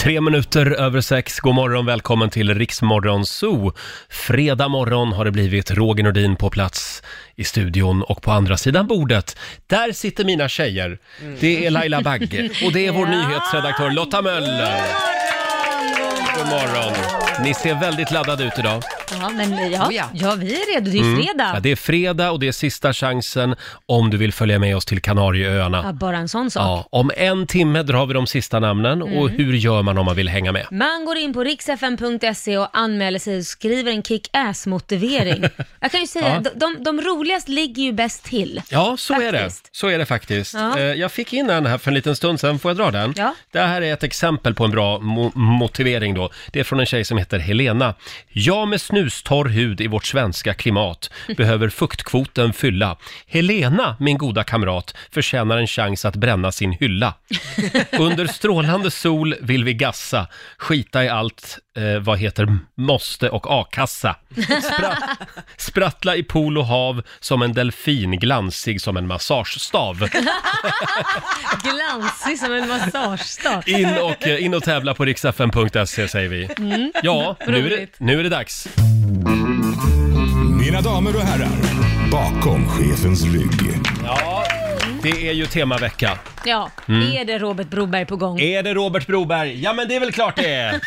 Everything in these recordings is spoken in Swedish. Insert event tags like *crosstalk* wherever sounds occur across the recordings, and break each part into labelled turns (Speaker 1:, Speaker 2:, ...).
Speaker 1: Tre minuter över sex, god morgon, välkommen till Riksmorgon Zoo. Fredag morgon har det blivit Roger Nordin på plats i studion och på andra sidan bordet, där sitter mina tjejer. Det är Laila Bagge och det är vår nyhetsredaktör Lotta Möller. God morgon! Ni ser väldigt laddade ut idag.
Speaker 2: Ja, men eh, ja,
Speaker 3: Oh ja.
Speaker 2: ja, vi är redo. Det är ju fredag.
Speaker 1: Mm. Ja, det är fredag och det är sista chansen om du vill följa med oss till Kanarieöarna.
Speaker 2: ja, bara en sån sak.
Speaker 1: Ja, om en timme drar vi de sista namnen och hur gör man om man vill hänga med?
Speaker 2: Man går in på riksfn.se och anmäler sig och skriver
Speaker 1: *laughs*
Speaker 2: en kick-ass-motivering. Jag kan ju säga,
Speaker 1: Ja.
Speaker 2: de, de, de roligaste ligger ju bäst till.
Speaker 1: Ja, så är det.
Speaker 2: Faktiskt.
Speaker 1: Så är det faktiskt.
Speaker 2: Ja.
Speaker 1: Eh, Jag fick in en här för en liten stund sedan, får jag dra den?
Speaker 2: Ja.
Speaker 1: Det här är ett exempel på en bra mo- motivering då. Det är från en tjej som heter Helena. Jag med snustorr hud i vårt svenska
Speaker 2: *laughs*
Speaker 1: klimat behöver fuktkvoten fylla. Helena, min goda kamrat, förtjänar en chans att bränna sin
Speaker 2: *laughs*
Speaker 1: hylla. Under strålande sol vill vi gassa, skita i allt eh, vad heter måste och
Speaker 2: *laughs*
Speaker 1: a-kassa. Spra sprattla i pool och hav som en delfin, glansig som en massagestav.
Speaker 2: Glansig som en massagestav.
Speaker 1: In och, eh, in och tävla på riksfn.se säger vi. Ja, nu är, det,
Speaker 2: roligt.
Speaker 1: nu är det dags.
Speaker 4: Mina damer och herrar, bakom chefens rygg.
Speaker 1: Ja, det är ju temavecka.
Speaker 2: Ja,
Speaker 1: Mm.
Speaker 2: är det Robert Broberg på gång?
Speaker 1: Är det Robert Broberg? Ja, men det är väl klart det är!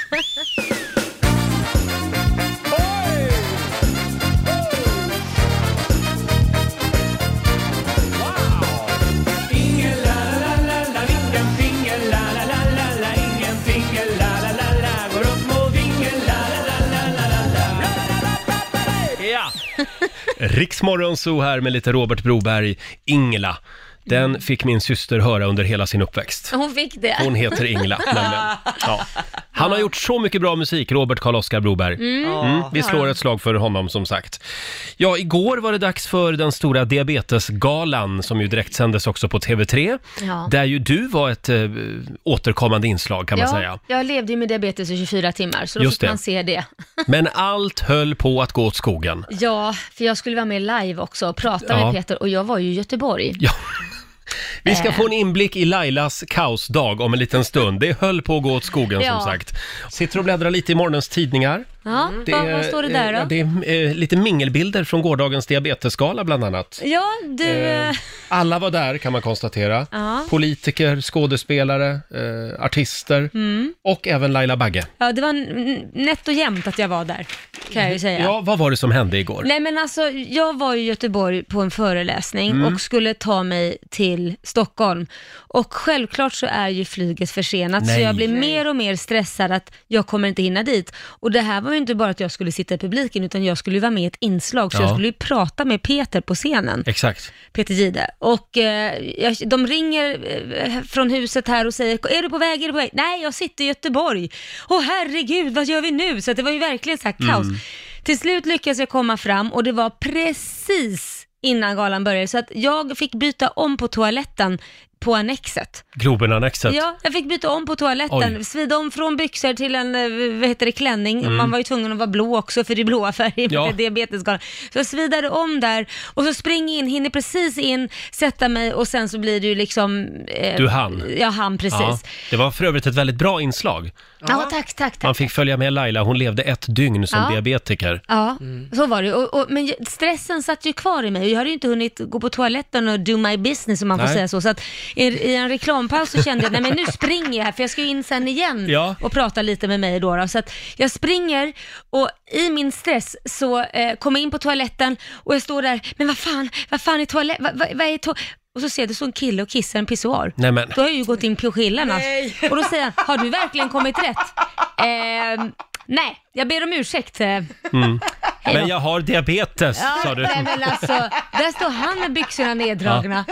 Speaker 1: Ja! Riksmorgonzoo här med lite Robert Broberg, Ingela. Den fick min syster höra under hela sin uppväxt.
Speaker 2: Hon fick det.
Speaker 1: Hon heter Ingela nämligen. Ja. Han har gjort så mycket bra musik, Robert Karl-Oskar Broberg. Mm, vi slår ett slag för honom som sagt. Ja, igår var det dags för den stora diabetesgalan som ju direkt sändes också på TV3.
Speaker 2: Ja.
Speaker 1: Där ju du var ett eh, återkommande inslag kan man
Speaker 2: Ja,
Speaker 1: säga.
Speaker 2: jag levde ju med diabetes i 24 timmar, så då
Speaker 1: Just
Speaker 2: fick
Speaker 1: det.
Speaker 2: man se det.
Speaker 1: Men allt höll på att gå åt skogen.
Speaker 2: Ja, för jag skulle vara med live också och prata
Speaker 1: Ja.
Speaker 2: med Peter och jag var ju i Göteborg.
Speaker 1: Ja. Vi
Speaker 2: Äh.
Speaker 1: ska få en inblick i Lailas kaosdag om en liten stund. Det höll på att gå åt skogen
Speaker 2: Ja.
Speaker 1: som sagt. Sitter och bläddrar lite i morgonens tidningar.
Speaker 2: Ja, vad, vad står det där då?
Speaker 1: eh, ja, Det är eh, lite mingelbilder från gårdagens diabetesgala bland annat.
Speaker 2: Ja, du... eh,
Speaker 1: Alla var där kan man konstatera.
Speaker 2: Ja.
Speaker 1: Politiker, skådespelare, eh, artister
Speaker 2: Mm.
Speaker 1: och även Laila Bagge.
Speaker 2: Ja, det var n- nätt och jämnt att jag var där, kan jag ju säga.
Speaker 1: Ja, vad var det som hände igår?
Speaker 2: Nej men alltså, jag var i Göteborg på en föreläsning
Speaker 1: Mm.
Speaker 2: och skulle ta mig till Stockholm. Och självklart så är ju flyget försenat,
Speaker 1: Nej.
Speaker 2: så jag blir mer och mer stressad att jag kommer inte hinna dit. Och det här var ju inte bara att jag skulle sitta i publiken, utan jag skulle ju vara med i ett inslag, så
Speaker 1: Ja.
Speaker 2: jag skulle ju prata med Peter på scenen.
Speaker 1: Exakt.
Speaker 2: Peter Gide. Och eh, jag, de ringer eh, från huset här och säger, är du på väg, är du på väg? Nej, jag sitter i Göteborg. Åh herregud, vad gör vi nu? Så att det var ju verkligen så här kaos. Till slut lyckades jag komma fram och det var precis innan galan började, så att jag fick byta om på toaletten på Annexet.
Speaker 1: Globenannexet.
Speaker 2: Ja, jag fick byta om på toaletten,
Speaker 1: Oj. Mm.
Speaker 2: svida om från byxor till en, eh, vad heter det, klänning. Man var ju tvungen att vara blå också för det är blåa färger
Speaker 1: Ja.
Speaker 2: på diabetesgalan. Så jag svidade om där och så springer in, hinner precis in, sätta mig och sen så blir det ju liksom... eh,
Speaker 1: Du hann.
Speaker 2: Ja, han precis.
Speaker 1: Ja.
Speaker 2: Ja.
Speaker 1: Det var för övrigt ett väldigt bra inslag.
Speaker 2: tack, tack,
Speaker 1: Man
Speaker 2: tack.
Speaker 1: fick följa med Laila, hon levde ett dygn som
Speaker 2: Ja.
Speaker 1: diabetiker.
Speaker 2: Ja,
Speaker 1: Mm.
Speaker 2: så var det. Och, och, men jag- stressen satt ju kvar i mig och jag hade ju inte hunnit gå på toaletten och do my business om man får
Speaker 1: Nej.
Speaker 2: säga så. Så att i, i en reklampaus så kände jag, nej men nu springer jag här för jag ska ju in sen igen
Speaker 1: Ja.
Speaker 2: och prata lite med mig då. då. Så att jag springer och i min stress så eh, kommer jag in på toaletten och jag står där, men vad fan, vad fan är toaletten, vad, vad, vad är to-? Och så ser jag, det står en kille och kissar i en pissoar.
Speaker 1: Nej men,
Speaker 2: Då har jag ju gått in på skillnaderna.
Speaker 3: Nej.
Speaker 2: Och då säger han, har du verkligen kommit rätt? Ehm, nej, jag ber om ursäkt. eh. *laughs* Hej
Speaker 1: mm. men
Speaker 2: då.
Speaker 1: jag har diabetes, sa du.
Speaker 2: Nej men alltså, där står han med byxorna neddragna.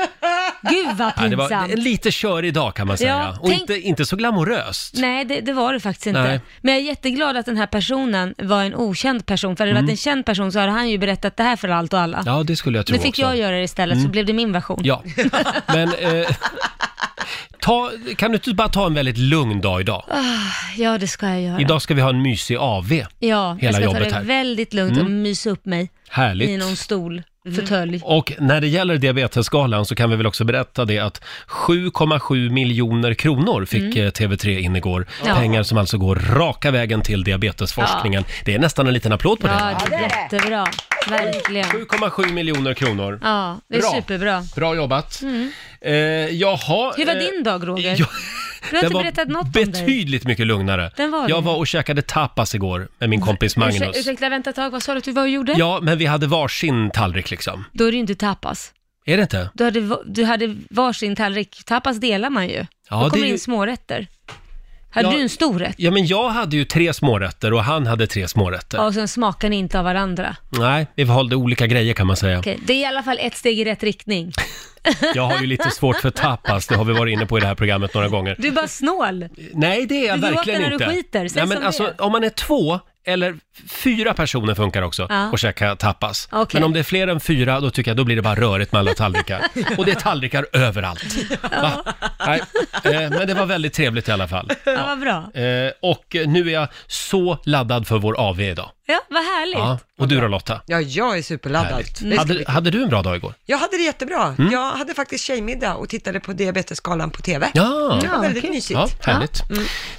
Speaker 2: Gud vad
Speaker 1: Ja, det var
Speaker 2: pinsamt.
Speaker 1: en lite körig dag kan man säga.
Speaker 2: Ja,
Speaker 1: och
Speaker 2: tänk-
Speaker 1: inte, inte så glamoröst.
Speaker 2: Nej, det, det var det faktiskt inte.
Speaker 1: Nej.
Speaker 2: Men jag är jätteglad att den här personen var en okänd person. För hade det varit en känd person så hade han ju berättat det här för allt och alla.
Speaker 1: Mm. Ja, det skulle jag tro
Speaker 2: nu fick
Speaker 1: också. Mm.
Speaker 2: jag göra det istället, så blev det min version.
Speaker 1: Ja, men eh, ta, kan du inte bara ta en väldigt lugn dag idag?
Speaker 2: Ja, det ska jag göra.
Speaker 1: Idag ska vi ha en mysig AV.
Speaker 2: ja,
Speaker 1: hela
Speaker 2: jag ska
Speaker 1: jobbet
Speaker 2: ta det
Speaker 1: här. Mm.
Speaker 2: väldigt lugnt och mysa upp mig i
Speaker 1: Härligt.
Speaker 2: någon stol. fåtölj.
Speaker 1: Och när det gäller diabetesgalan så kan vi väl också berätta det att 7,7 miljoner kronor fick eh, TV3 in igår.
Speaker 2: Mm. Ja.
Speaker 1: Pengar som alltså går raka vägen till diabetesforskningen. Det är nästan en liten applåd på
Speaker 2: Ja,
Speaker 1: det.
Speaker 2: det är jättebra. Verkligen.
Speaker 1: 7,7 miljoner kronor.
Speaker 2: Ja, det är
Speaker 1: Bra.
Speaker 2: superbra.
Speaker 1: Bra jobbat. Eh, jaha.
Speaker 2: Hur var
Speaker 1: eh, *laughs*
Speaker 2: din dag, Roger?
Speaker 1: ja,
Speaker 2: Du har
Speaker 1: den
Speaker 2: inte
Speaker 1: var
Speaker 2: berättat något om dig.
Speaker 1: betydligt mycket lugnare.
Speaker 2: Den var
Speaker 1: jag
Speaker 2: det.
Speaker 1: var och käkade tapas igår med min kompis
Speaker 2: Ursä-
Speaker 1: Magnus.
Speaker 2: Ursäkta, vänta ett tag. Vad sa du att du var och gjorde?
Speaker 1: Ja, men vi hade varsin tallrik liksom.
Speaker 2: Då är det ju inte tapas.
Speaker 1: Är det inte?
Speaker 2: Du hade, va- du hade varsin tallrik. Tapas delar man ju.
Speaker 1: Ja,
Speaker 2: Då kommer
Speaker 1: det är
Speaker 2: det
Speaker 1: ju-
Speaker 2: in smårätter. Hade
Speaker 1: Ja.
Speaker 2: du en stor rätt?
Speaker 1: Ja, men jag hade ju tre smårätter och han hade tre smårätter.
Speaker 2: Ja, och sen smakar ni inte av varandra.
Speaker 1: Nej, vi valde olika grejer kan man säga.
Speaker 2: Okej, Det är i alla fall ett steg i rätt riktning.
Speaker 1: Jag har ju lite svårt för tapas, det har vi varit inne på i det här programmet några gånger.
Speaker 2: Du är
Speaker 1: *laughs*
Speaker 2: bara snål.
Speaker 1: Nej, det är jag
Speaker 2: Du gråter
Speaker 1: verkligen
Speaker 2: när du
Speaker 1: inte.
Speaker 2: skiter, säg
Speaker 1: Nej, men
Speaker 2: som
Speaker 1: alltså,
Speaker 2: det är.
Speaker 1: om man är två eller fyra personer funkar också
Speaker 2: Ja.
Speaker 1: och käka tapas.
Speaker 2: Okej.
Speaker 1: Men om det är fler än fyra, då tycker jag då blir det bara rörigt med alla
Speaker 2: *laughs*
Speaker 1: tallrikar. och det är tallrikar överallt. Va? Nej, eh, men det var väldigt trevligt i alla fall.
Speaker 2: Ja, vad bra.
Speaker 1: Eh, och nu är jag så laddad för vår AV idag.
Speaker 2: Ja, vad härligt.
Speaker 1: Ja. Och du då Lotta?
Speaker 3: Ja, jag är superladdad.
Speaker 1: Härligt.
Speaker 2: Mm.
Speaker 3: Det ska bli-
Speaker 1: Hade, Mm. hade du en bra dag igår?
Speaker 3: Jag hade det jättebra. Jag hade faktiskt tjejmiddag och tittade på diabetesskalan på TV.
Speaker 1: Ja.
Speaker 3: Det var väldigt
Speaker 2: okej.
Speaker 3: mysigt.
Speaker 1: Ja, härligt.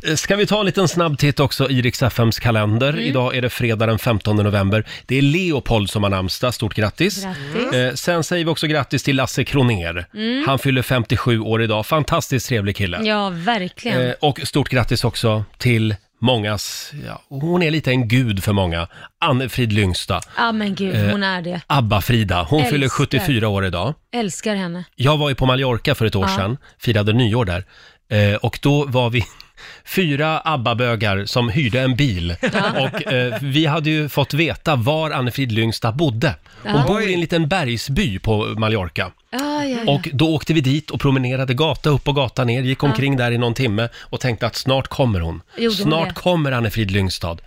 Speaker 1: Eh, Ska vi ta en liten snabb titt också i Rix FMs kalender. Idag är det fredag den 15 november. Det är Leopold som har namnsdag, stort grattis.
Speaker 2: Grattis.
Speaker 1: Eh, sen säger vi också grattis till Lasse Kroner. Han fyller 57 år idag, fantastiskt trevlig kille.
Speaker 2: Ja, verkligen.
Speaker 1: Eh, och stort grattis också till mångas, ja, hon är lite en gud för många, Anne-Frid Lyngstad.
Speaker 2: Ja, men
Speaker 1: eh.
Speaker 2: gud, hon är det.
Speaker 1: ABBA-Frida, hon
Speaker 2: Älskar.
Speaker 1: fyller 74 år idag.
Speaker 2: Älskar henne.
Speaker 1: Jag var ju på Mallorca för ett år
Speaker 2: Ja.
Speaker 1: sedan, firade nyår där. Eh, och då var vi *laughs* fyra ABBA-bögar som hyrde en bil. Och eh, vi hade ju fått veta var Anne-Frid Lyngstad bodde. Hon
Speaker 2: Ja.
Speaker 1: bor i en liten bergsby på Mallorca.
Speaker 2: Ja, ja, ja.
Speaker 1: Och då åkte vi dit och promenerade gata upp och gata ner, gick omkring där i någon timme och tänkte att snart kommer hon.
Speaker 2: Gjorde hon
Speaker 1: snart
Speaker 2: det?
Speaker 1: kommer Anne-Frid Lyngstad.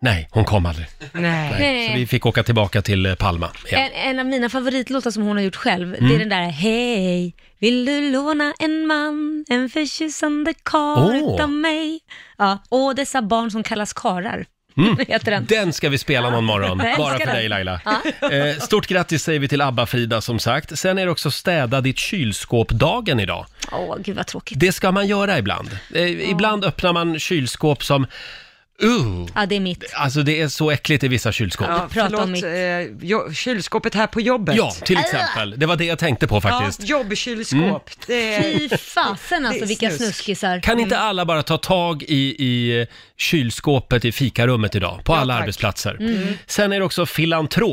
Speaker 1: Nej, hon kom aldrig.
Speaker 3: Nej.
Speaker 1: Så vi fick åka tillbaka till eh, Palma igen.
Speaker 2: En, en av mina favoritlåtar som hon har gjort själv, det
Speaker 1: Mm.
Speaker 2: är den där Hej, vill du låna en man, en förtjusande karl
Speaker 1: Åh.
Speaker 2: utav mig? Ja, och dessa barn som kallas karar, *laughs* heter den.
Speaker 1: Mm. Den ska vi spela någon morgon,
Speaker 2: Jag
Speaker 1: bara
Speaker 2: älskar
Speaker 1: för
Speaker 2: den.
Speaker 1: dig Laila. Eh, Stort grattis säger vi till ABBA-Frida som sagt. Sen är det också städa ditt kylskåp-dagen idag.
Speaker 2: Åh, gud vad tråkigt.
Speaker 1: Det ska man göra ibland. Eh, Ibland öppnar man kylskåp som, uh,
Speaker 2: Ja, det är mitt.
Speaker 1: alltså det är så äckligt i vissa kylskåp. Ja,
Speaker 3: Ja,
Speaker 2: Prata om
Speaker 3: förlåt,
Speaker 2: mitt.
Speaker 3: eh, jo, kylskåpet här på jobbet.
Speaker 1: till exempel. Det var det jag tänkte på
Speaker 3: ja
Speaker 1: faktiskt. Mm.
Speaker 3: jobbkylskåp. Det är...
Speaker 2: Fy fasen
Speaker 3: Det
Speaker 2: alltså,
Speaker 3: är
Speaker 2: vilka
Speaker 3: snusk.
Speaker 2: snuskisar. Mm.
Speaker 1: Kan inte alla bara ta tag i, i kylskåpet i fikarummet idag, på alla
Speaker 3: tack.
Speaker 1: arbetsplatser? Sen är det också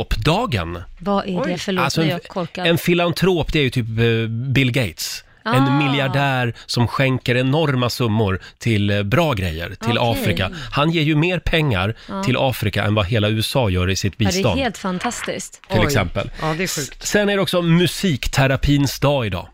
Speaker 1: filantropdagen.
Speaker 2: Vad är det?
Speaker 3: Oj.
Speaker 2: Förlåt,
Speaker 1: Alltså
Speaker 2: nu är
Speaker 1: en,
Speaker 2: jag korkad.
Speaker 1: en filantrop, det är ju typ eh, Bill Gates.
Speaker 2: Ah.
Speaker 1: En miljardär som skänker enorma summor till eh, bra grejer, till
Speaker 2: Okej. Ah.
Speaker 1: Afrika. Han ger ju mer pengar till Afrika än vad hela USA gör i sitt
Speaker 2: ja, det är
Speaker 1: bistånd.
Speaker 2: helt fantastiskt.
Speaker 1: Till
Speaker 3: Oj.
Speaker 1: exempel.
Speaker 3: Ja, det är sjukt.
Speaker 1: Sen är det också musikterapins dag idag.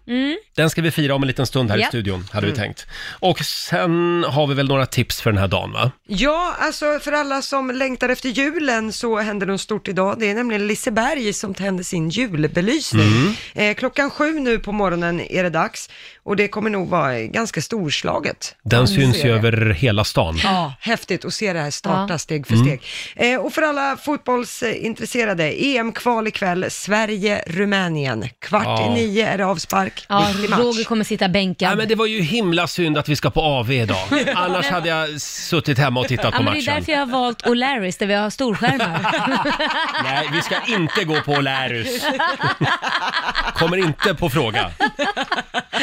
Speaker 1: Den ska vi fira om en liten stund här i
Speaker 2: Mm. Ja.
Speaker 1: studion, hade
Speaker 3: Mm.
Speaker 1: vi tänkt. Och sen har vi väl några tips för den här dagen, va?
Speaker 3: Ja, alltså för alla som längtar efter julen så händer något stort idag. Det är nämligen Liseberg som tänder sin julbelysning.
Speaker 1: Mm.
Speaker 3: Eh, klockan sju nu på morgonen är det dags och det kommer nog vara ganska storslaget.
Speaker 1: Den syns
Speaker 3: ser
Speaker 1: ju
Speaker 3: det.
Speaker 1: över hela stan.
Speaker 3: Ja, *clears throat* häftigt att se det här starta
Speaker 2: Ja.
Speaker 3: steg för steg. Eh, och för alla fotbollsintresserade, EM-kval ikväll, Sverige-Rumänien. Kvart
Speaker 1: Ja.
Speaker 3: i nio är det avspark,
Speaker 2: Ja,
Speaker 3: viktig match.
Speaker 2: Roger kommer sitta
Speaker 1: Ja,
Speaker 2: bänkad.
Speaker 1: men det var ju himla synd att vi ska på AV
Speaker 2: *laughs*
Speaker 1: idag. Annars hade jag suttit hemma och tittat
Speaker 2: Ja,
Speaker 1: på
Speaker 2: men det är
Speaker 1: matchen.
Speaker 2: därför jag har valt O'Larrys där vi
Speaker 1: *laughs*
Speaker 2: har storskärmar.
Speaker 1: Nej, vi ska inte gå på
Speaker 2: *laughs*
Speaker 1: Lärus. Kommer inte på fråga. Mm.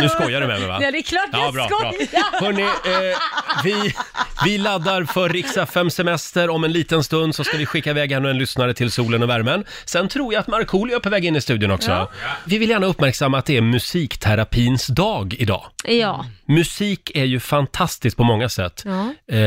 Speaker 1: Nu skojar du med mig va?
Speaker 2: Ja, det är klart jag skojar.
Speaker 1: Hörrni, eh, vi, vi laddar för Rix fm semester Om en liten stund så ska vi skicka iväg ännu en lyssnare till solen och värmen. Sen tror jag att Markoolio är på väg in i studion också. Vi vill gärna uppmärksamma att det är musikterapins dag idag.
Speaker 2: ja.
Speaker 1: Musik är ju fantastiskt på många sätt.
Speaker 2: Ja.
Speaker 1: Eh,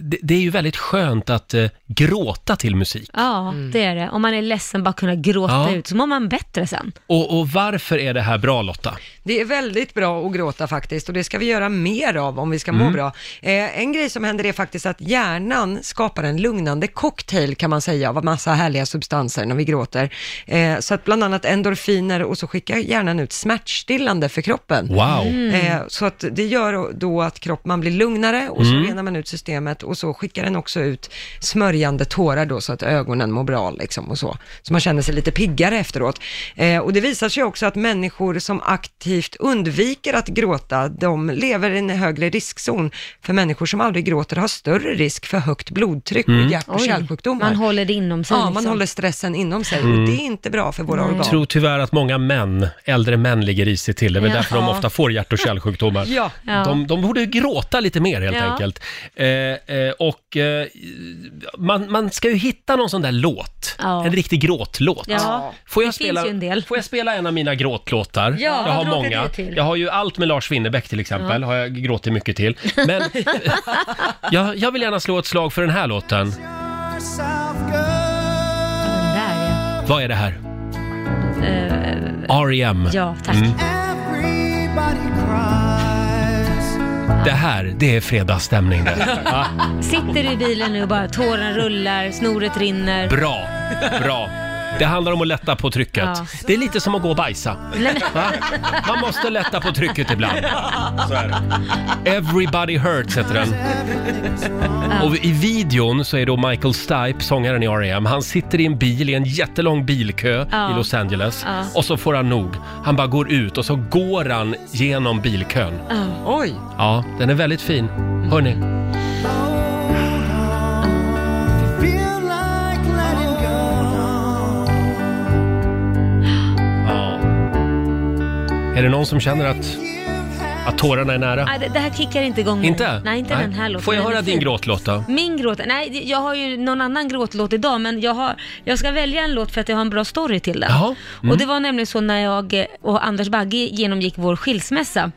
Speaker 1: det, det är ju väldigt skönt att eh, gråta till musik.
Speaker 2: Ja, det är det. Om man är ledsen, bara kunna gråta
Speaker 1: Mm. Ja.
Speaker 2: ut, så mår man bättre sen.
Speaker 1: Och, och varför är det här bra Lotta?
Speaker 3: Det är väldigt bra att gråta faktiskt och det ska vi göra mer av om vi ska må bra. Eh, en grej som händer är faktiskt att hjärnan skapar en lugnande cocktail kan man säga av massa härliga substanser när vi gråter. Eh, så att bland annat endorfiner och så skickar hjärnan ut smärta smärtstillande för kroppen.
Speaker 1: Wow!
Speaker 3: Eh, så att det gör då att kropp, man blir lugnare och så renar man ut systemet och så skickar den också ut smörjande tårar då så att ögonen mår bra liksom och så. Så man känner sig lite piggare efteråt. Eh, och det visar sig också att människor som aktivt undviker att gråta, de lever i en högre riskzon. För människor som aldrig gråter har större risk för högt blodtryck och hjärt och kärlsjukdomar.
Speaker 2: Man håller det inom sig
Speaker 3: ja, man
Speaker 2: liksom.
Speaker 3: håller stressen inom sig och det är inte bra för våra organ.
Speaker 1: Jag tror tyvärr att många män, äldre män, ligger risigt till. Det är väl
Speaker 2: Ja.
Speaker 1: därför de ofta får hjärt och kärlsjukdomar.
Speaker 3: Ja.
Speaker 2: Ja.
Speaker 1: De, de borde gråta lite mer helt
Speaker 2: Ja.
Speaker 1: enkelt. Eh, eh, och eh, man, man ska ju hitta någon sån där låt,
Speaker 2: Ja.
Speaker 1: en riktig gråtlåt.
Speaker 2: Ja.
Speaker 1: Får jag,
Speaker 2: Det finns
Speaker 1: spela,
Speaker 2: ju en del.
Speaker 1: får jag spela en av mina gråtlåtar?
Speaker 2: Ja,
Speaker 1: jag
Speaker 2: vad
Speaker 1: har
Speaker 2: gråter
Speaker 1: många.
Speaker 2: du till?
Speaker 1: Jag har ju allt med Lars Winnerbäck till exempel, har jag gråtit mycket till. Men
Speaker 2: *laughs*
Speaker 1: *laughs* jag, jag vill gärna slå ett slag för den här låten.
Speaker 2: Den där,
Speaker 1: Vad är det här? E
Speaker 2: ja. Eh,
Speaker 1: R.E.M.
Speaker 2: ja, tack.
Speaker 1: Mm. Det här, det är fredagsstämning det. Ja.
Speaker 2: Sitter du i bilen nu och bara tårarna rullar, snoret rinner.
Speaker 1: Bra, bra. Det handlar om att lätta på trycket.
Speaker 2: Ja.
Speaker 1: Det är lite som att gå och bajsa. Va? Man måste lätta på trycket ibland. Så är det. Everybody Hurts heter den. Och i videon så är då Michael Stipe, sångaren i R.E.M. Han sitter i en bil i en jättelång bilkö
Speaker 2: Ja.
Speaker 1: i Los Angeles.
Speaker 2: Ja.
Speaker 1: Och så får han nog. Han bara går ut och så går han genom bilkön.
Speaker 2: Ja.
Speaker 3: Oj,
Speaker 1: Ja, den är väldigt fin. Hörni. Ja. Är det någon som känner att, att tårarna är nära?
Speaker 2: Nej, Ah, det, det här kickar inte igång.
Speaker 1: Inte?
Speaker 2: Nej, inte den här låten.
Speaker 1: Får jag
Speaker 2: Den är
Speaker 1: höra din
Speaker 2: fin.
Speaker 1: gråt Lotta?
Speaker 2: Min gråt? Nej, jag har ju någon annan gråtlåt idag, men jag, har, jag ska välja en låt för att jag har en bra story till den.
Speaker 1: Jaha.
Speaker 2: Och det var nämligen så när jag och Anders Bagge genomgick vår skilsmässa.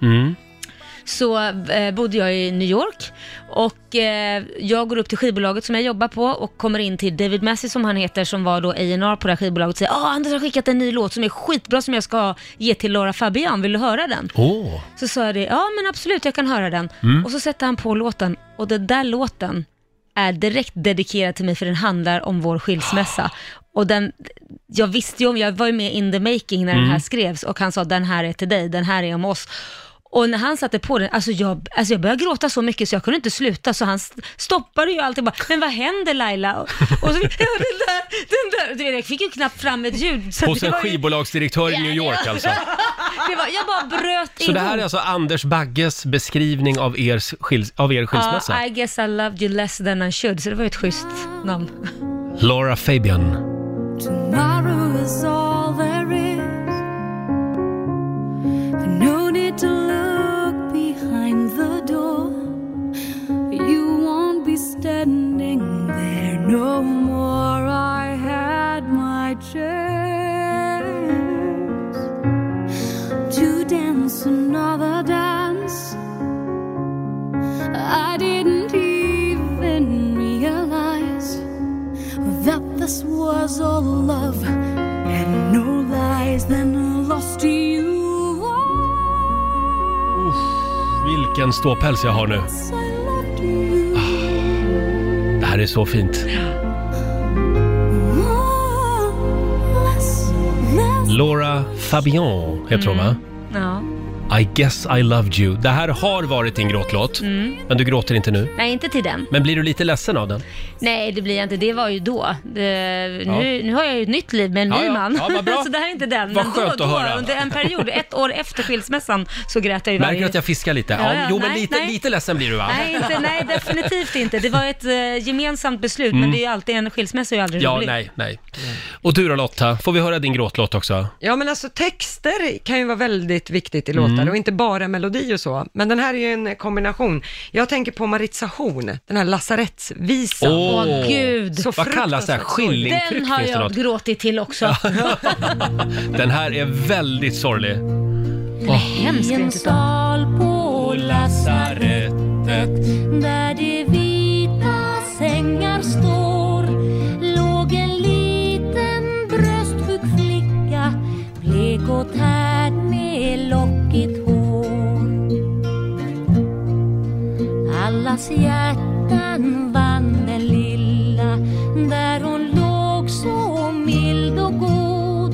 Speaker 2: Så eh, bodde jag i New York och eh, jag går upp till skivbolaget som jag jobbar på och kommer in till David Massey som han heter som var då A&R på det här skivbolaget och säger ah Anders har skickat en ny låt som är skitbra som jag ska ge till Laura Fabian, vill du höra den?
Speaker 1: Åh,
Speaker 2: Så sa jag det, ja men absolut jag kan höra den.
Speaker 1: Mm.
Speaker 2: Och så sätter han på låten och den där låten är direkt dedikerad till mig för den handlar om
Speaker 1: *gasps*
Speaker 2: vår skilsmässa. Och den, jag visste ju om, jag var ju med in the making när
Speaker 1: Mm.
Speaker 2: den här skrevs och han sa den här är till dig, den här är om oss. Och när han satte på den, alltså jag, alltså jag började gråta så mycket så jag kunde inte sluta så han st- stoppade ju alltid bara, men vad händer Laila? Och, och så, *laughs* ja, den där, den där, du vet jag fick ju knappt fram ett ljud. Så
Speaker 1: hos
Speaker 2: det
Speaker 1: en
Speaker 2: var ju,
Speaker 1: skivbolagsdirektör i New York
Speaker 2: *laughs*
Speaker 1: alltså.
Speaker 2: det var, jag bara bröt
Speaker 1: Så det här är
Speaker 2: ihop.
Speaker 1: alltså Anders Bagges beskrivning av er, skils- av er skilsmässa?
Speaker 2: Ja, Uh, I guess I loved you less than I should, så det var ju ett schysst namn. *laughs*
Speaker 1: Laura Fabian.
Speaker 5: Tomorrow is all there is. No need to look behind the door. You won't be standing there no more. I had my chance to dance another dance. I didn't even realize that this was all love and no lies. Then I lost you.
Speaker 1: Vilken ståpäls jag har nu.
Speaker 5: Once I loved you.
Speaker 1: Det här är så fint.
Speaker 5: Once, less.
Speaker 1: Laura Fabian heter hon va?
Speaker 2: Mm. Ja.
Speaker 1: I guess I loved you. Det här har varit din gråtlåt,
Speaker 2: Mm.
Speaker 1: men du gråter inte nu.
Speaker 2: Nej, inte till den.
Speaker 1: Men blir du lite ledsen av den?
Speaker 2: Nej, det blir jag inte. Det var ju då. Det, nu, nu har jag ju ett nytt liv med en
Speaker 1: Ja,
Speaker 2: ny
Speaker 1: ja.
Speaker 2: man.
Speaker 1: Ja, vad bra.
Speaker 2: *laughs* så det här är inte den.
Speaker 1: Vad
Speaker 2: Men
Speaker 1: skönt att
Speaker 2: då, då,
Speaker 1: höra.
Speaker 2: under en period, ett år efter skilsmässan, så grät jag ju
Speaker 1: Märker
Speaker 2: varje...
Speaker 1: du att jag fiskar lite?
Speaker 2: Ja,
Speaker 1: Ja,
Speaker 2: ja.
Speaker 1: jo, men
Speaker 2: Nej,
Speaker 1: lite,
Speaker 2: nej.
Speaker 1: lite ledsen blir du va?
Speaker 2: Nej, inte, nej, definitivt inte. Det var ett eh, gemensamt beslut, men det är ju alltid en skilsmässa är ju aldrig
Speaker 1: Mm. Ja,
Speaker 2: rolig.
Speaker 1: nej, nej. Och du då Lotta, får vi höra din gråtlåt också?
Speaker 3: Ja men alltså texter kan ju vara väldigt viktigt i låtar
Speaker 1: Mm.
Speaker 3: och inte bara melodi och så. Men den här är ju en kombination. Jag tänker på Maritza Horn, den här lasarettsvisan.
Speaker 2: Åh gud.
Speaker 3: Så
Speaker 1: Vad kallas det här?
Speaker 3: fruktansvärt
Speaker 1: Skillingtryck
Speaker 2: Den har
Speaker 1: finns det
Speaker 2: jag
Speaker 1: något?
Speaker 2: gråtit till också.
Speaker 1: *laughs* Den här är väldigt sorglig.
Speaker 2: Hemskt
Speaker 5: En
Speaker 2: gråtit av.
Speaker 5: sal på lasarettet där det vita sängar står låg en liten bröstsjuk flicka blek och tärd med lockigt hår. Allas hjärtan vann den lilla där hon låg så mild och god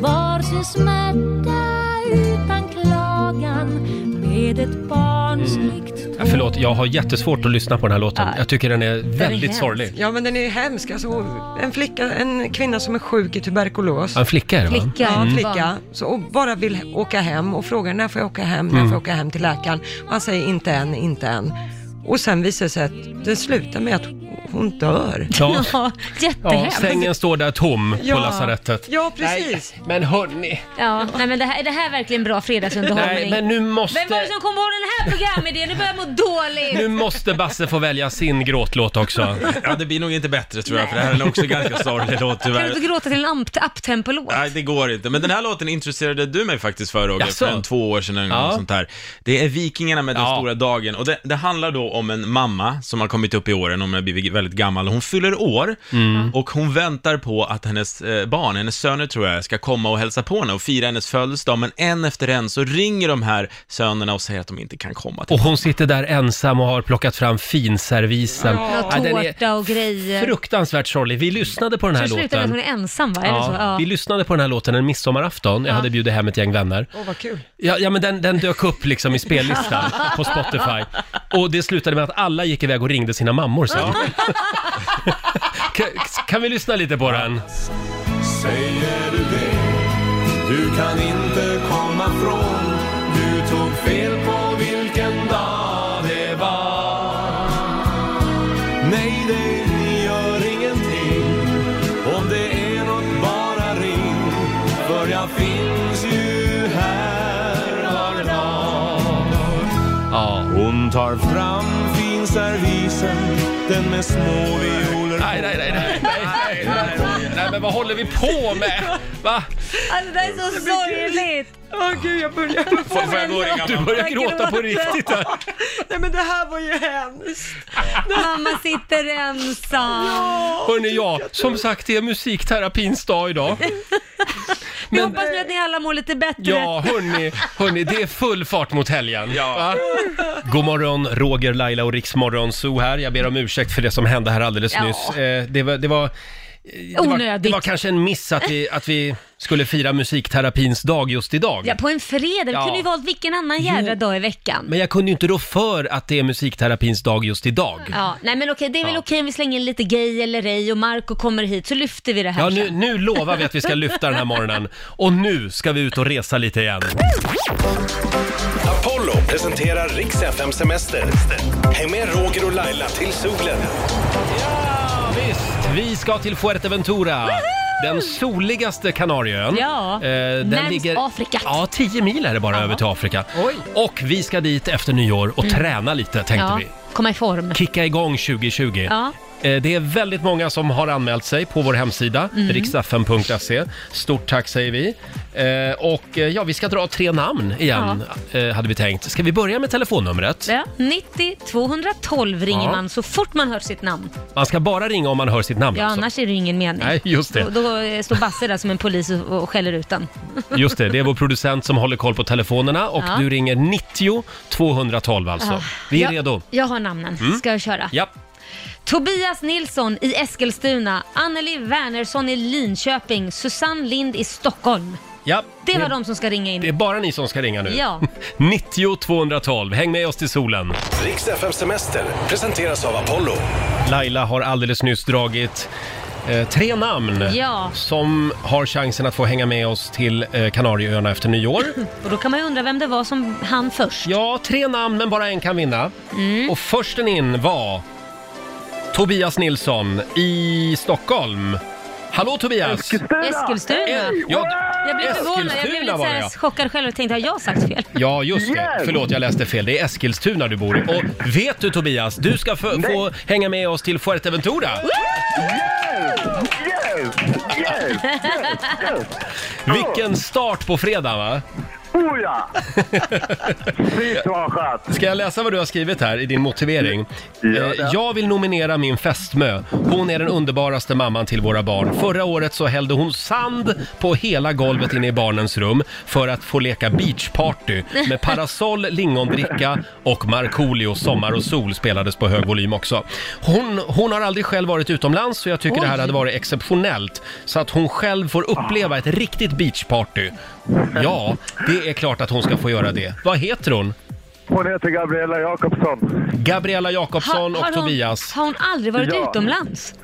Speaker 5: var sin smärta ut
Speaker 1: Ja, förlåt, jag har jättesvårt att lyssna på den här låten.
Speaker 2: Ja.
Speaker 1: Jag tycker den är väldigt
Speaker 2: hemsk.
Speaker 1: sorglig.
Speaker 3: Ja men den är hemsk. Alltså, hon- en, flicka, en kvinna som är sjuk i tuberkulos.
Speaker 1: Ja, En Mm. flicka är det va?
Speaker 2: Flicka.
Speaker 3: Ja, en flicka.
Speaker 2: barn.
Speaker 3: Så, och bara vill åka hem och frågar när får jag åka hem, när får
Speaker 1: Mm.
Speaker 3: jag åka hem till läkaren. Och han säger inte än, inte än. Och sen visar det sig att det slutar med att hon dör.
Speaker 2: *laughs*
Speaker 1: Ja. Ja,
Speaker 2: Ja, jättehemskt.
Speaker 1: sängen står där tom
Speaker 3: Ja.
Speaker 1: på lasarettet.
Speaker 3: Ja, precis.
Speaker 1: Nej, men hörni.
Speaker 2: Ja, nej men det här, är det här verkligen bra fredagsunderhållning?
Speaker 1: Nej, men nu
Speaker 2: Vem var det
Speaker 1: måste,
Speaker 2: som kom på den här programidén? Nu börjar jag må dåligt!
Speaker 1: nu måste Basse få välja sin gråtlåt också.
Speaker 6: Ja, det blir nog inte bättre tror jag, för det här är också en ganska sorglig låt
Speaker 2: Kan du
Speaker 6: tyvärr.
Speaker 2: inte gråta till en amp- uptempo-låt?
Speaker 6: Nej, det går inte. Men den här låten intresserade du mig faktiskt för, Roger,
Speaker 1: Jaså?
Speaker 6: för en två år sedan eller
Speaker 1: Ja.
Speaker 6: något sånt här. Det är Vikingarna med den
Speaker 1: Ja.
Speaker 6: stora dagen, och det, det handlar då om en mamma som har kommit upp i åren, hon har blivit väldigt gammal, hon fyller år, och hon väntar på att hennes eh, barn, hennes söner tror jag, ska komma och hälsa på henne och fira hennes födelsedag, men en efter en så ringer de här sönerna och säger att de inte kan komma *laughs* till
Speaker 1: Och hon sitter där ensam och har plockat fram finservisen.
Speaker 2: Ja,
Speaker 1: Ja, den är
Speaker 2: tårta och grejer.
Speaker 1: Fruktansvärt sorglig. Vi lyssnade på den här
Speaker 2: Så slutar med att hon
Speaker 1: låten.
Speaker 2: är ensam va? Eller så?
Speaker 1: Ja,
Speaker 2: Ja.
Speaker 1: vi lyssnade på den här låten en midsommarafton. Jag hade bjudit hem ett gäng vänner.
Speaker 3: Åh, vad kul.
Speaker 1: Ja, ja men den, den dök upp liksom i spellistan på Spotify. Och det slutade med att alla gick iväg och ringde sina mammor sen.
Speaker 2: *laughs*
Speaker 1: kan, kan vi lyssna lite på den?
Speaker 7: Säger du det? Du kan inte komma från Du tog fel på vilken dag det var Nej, det gör ingenting Om det är något, bara ring För jag finns ju här var dag
Speaker 1: Ja.
Speaker 7: Hon tar fram finservisen Den med små violer
Speaker 1: Nej, nej, nej, nej, nej, nej, nej, nej, nej, men vad håller vi på med? Va?
Speaker 2: Alltså det här är så sorgligt!
Speaker 3: Åh gud, jag börjar
Speaker 6: Får, får jag gå och ringa
Speaker 1: Du
Speaker 6: mamma?
Speaker 1: börjar gråta på riktigt här.
Speaker 3: Nej men det här var ju hemskt.
Speaker 2: Mamma sitter ensam.
Speaker 1: Hörni, ja, som sagt, det är musikterapins dag idag.
Speaker 2: Vi
Speaker 1: Men-
Speaker 2: hoppas nu att ni alla mår lite bättre.
Speaker 1: Ja, hörni, hörni, det är full fart mot helgen.
Speaker 6: Ja.
Speaker 1: Va? God morgon, Roger, Laila och Riksmorgon Zoo här. Jag ber om ursäkt för det som hände här alldeles
Speaker 2: Ja.
Speaker 1: nyss. Eh, det, var, det, var, det, var,
Speaker 2: Onödigt.
Speaker 1: det var kanske en miss att vi, att vi skulle fira musikterapins dag just idag.
Speaker 2: Ja, på en fredag. Vi
Speaker 1: Ja.
Speaker 2: kunde ju valt vilken annan jädra dag i veckan.
Speaker 1: Men jag kunde ju inte rå för att det är musikterapins dag just idag.
Speaker 2: Ja, nej men okej, det är väl
Speaker 1: Ja.
Speaker 2: okej om vi slänger in lite gay eller ej och Marco kommer hit så lyfter vi det här
Speaker 1: Ja, nu,
Speaker 2: sen.
Speaker 1: nu lovar vi att vi ska lyfta den här morgonen. Och nu ska vi ut och resa lite igen.
Speaker 4: Apollo presenterar Rix FM Semester. Häng med Roger och Laila till solen.
Speaker 1: Ja, visst. Vi ska till Fuerteventura. Den soligaste Kanarieön. Eh,
Speaker 2: Ja,
Speaker 1: den
Speaker 2: närmst Afrika.
Speaker 1: Ja, 10 mil är det bara över till Afrika. Och vi ska dit efter nyår och träna lite tänkte
Speaker 2: Mm. ja,
Speaker 1: vi.
Speaker 2: komma i form.
Speaker 1: Kicka igång 2020.
Speaker 2: Ja.
Speaker 1: Eh, Det är väldigt många som har anmält sig på vår hemsida,
Speaker 2: Mm.
Speaker 1: riksdagen.se. Stort tack säger vi. Eh, Och eh, ja, vi ska dra tre namn igen, eh, hade vi tänkt. Ska vi börja med telefonnumret?
Speaker 2: Ja, 90 212 ringer
Speaker 1: Ja.
Speaker 2: man så fort man hört sitt namn.
Speaker 1: Man ska bara ringa om man hör sitt namn
Speaker 2: Ja,
Speaker 1: alltså.
Speaker 2: annars är det ju ingen mening.
Speaker 1: Nej, just det.
Speaker 2: Då, då eh, står Basse där som en polis och, och skäller ut den.
Speaker 1: Just det, det är vår producent som håller koll på telefonerna och
Speaker 2: Ja.
Speaker 1: du ringer 90 212 alltså.
Speaker 2: Ah.
Speaker 1: Vi är
Speaker 2: jag,
Speaker 1: redo. Mm.
Speaker 2: Jag har namnen. Ska jag köra?
Speaker 1: Ja.
Speaker 2: Tobias Nilsson i Eskilstuna, Anneli Wernersson i Linköping, Susanne Lind i Stockholm.
Speaker 1: ja.
Speaker 2: Det var de som ska ringa in.
Speaker 1: Det är bara ni som ska ringa nu. *laughs*
Speaker 2: Ja.
Speaker 1: 90 212, häng med oss till solen.
Speaker 4: Rix FM Semester presenteras av Apollo.
Speaker 1: Laila har alldeles nyss dragit eh, tre namn
Speaker 2: Ja.
Speaker 1: som har chansen att få hänga med oss till eh, Kanarieöarna efter
Speaker 2: *laughs*
Speaker 1: nyår.
Speaker 2: Och då kan man ju undra vem det var som hann först.
Speaker 1: Ja, tre namn men bara en kan vinna.
Speaker 2: Mm.
Speaker 1: Och försten in var Tobias Nilsson i Stockholm. Hallå Tobias!
Speaker 2: Eskilstuna.
Speaker 1: Ja,
Speaker 2: Jag blev förvånad, jag blev
Speaker 1: Eskilstuna
Speaker 2: lite så
Speaker 1: var det,
Speaker 2: här
Speaker 1: ja.
Speaker 2: chockad själv och tänkte har jag sagt fel?
Speaker 1: Ja, just det. Förlåt, jag läste fel. Det är Eskilstuna du bor i. Och vet du Tobias, du ska få, få hänga med oss till Fuerteventura.
Speaker 8: Yes! Yes!
Speaker 1: Vilken start på fredag va?
Speaker 8: Oh ja! Fy vad skönt!
Speaker 1: Ska jag läsa vad du har skrivit här i din motivering?
Speaker 8: Gör
Speaker 1: Eh,
Speaker 8: det.
Speaker 1: Jag vill nominera min fästmö. Hon är den underbaraste mamman till våra barn. Förra året så hällde hon sand på hela golvet inne i barnens rum för att få leka beachparty med parasoll, lingondricka och Markoolio Sommar och sol spelades på hög volym också. Hon, hon har aldrig själv varit utomlands så jag tycker det här
Speaker 2: Oj.
Speaker 1: hade varit exceptionellt så att hon själv får uppleva ett riktigt beachparty. Ja, det är klart att hon ska få göra det. Vad heter hon?
Speaker 8: Hon heter Gabriella Jakobsson.
Speaker 1: Gabriella Jakobsson och
Speaker 2: har, hon,
Speaker 1: Tobias.
Speaker 2: har hon aldrig varit
Speaker 8: Ja.
Speaker 2: utomlands?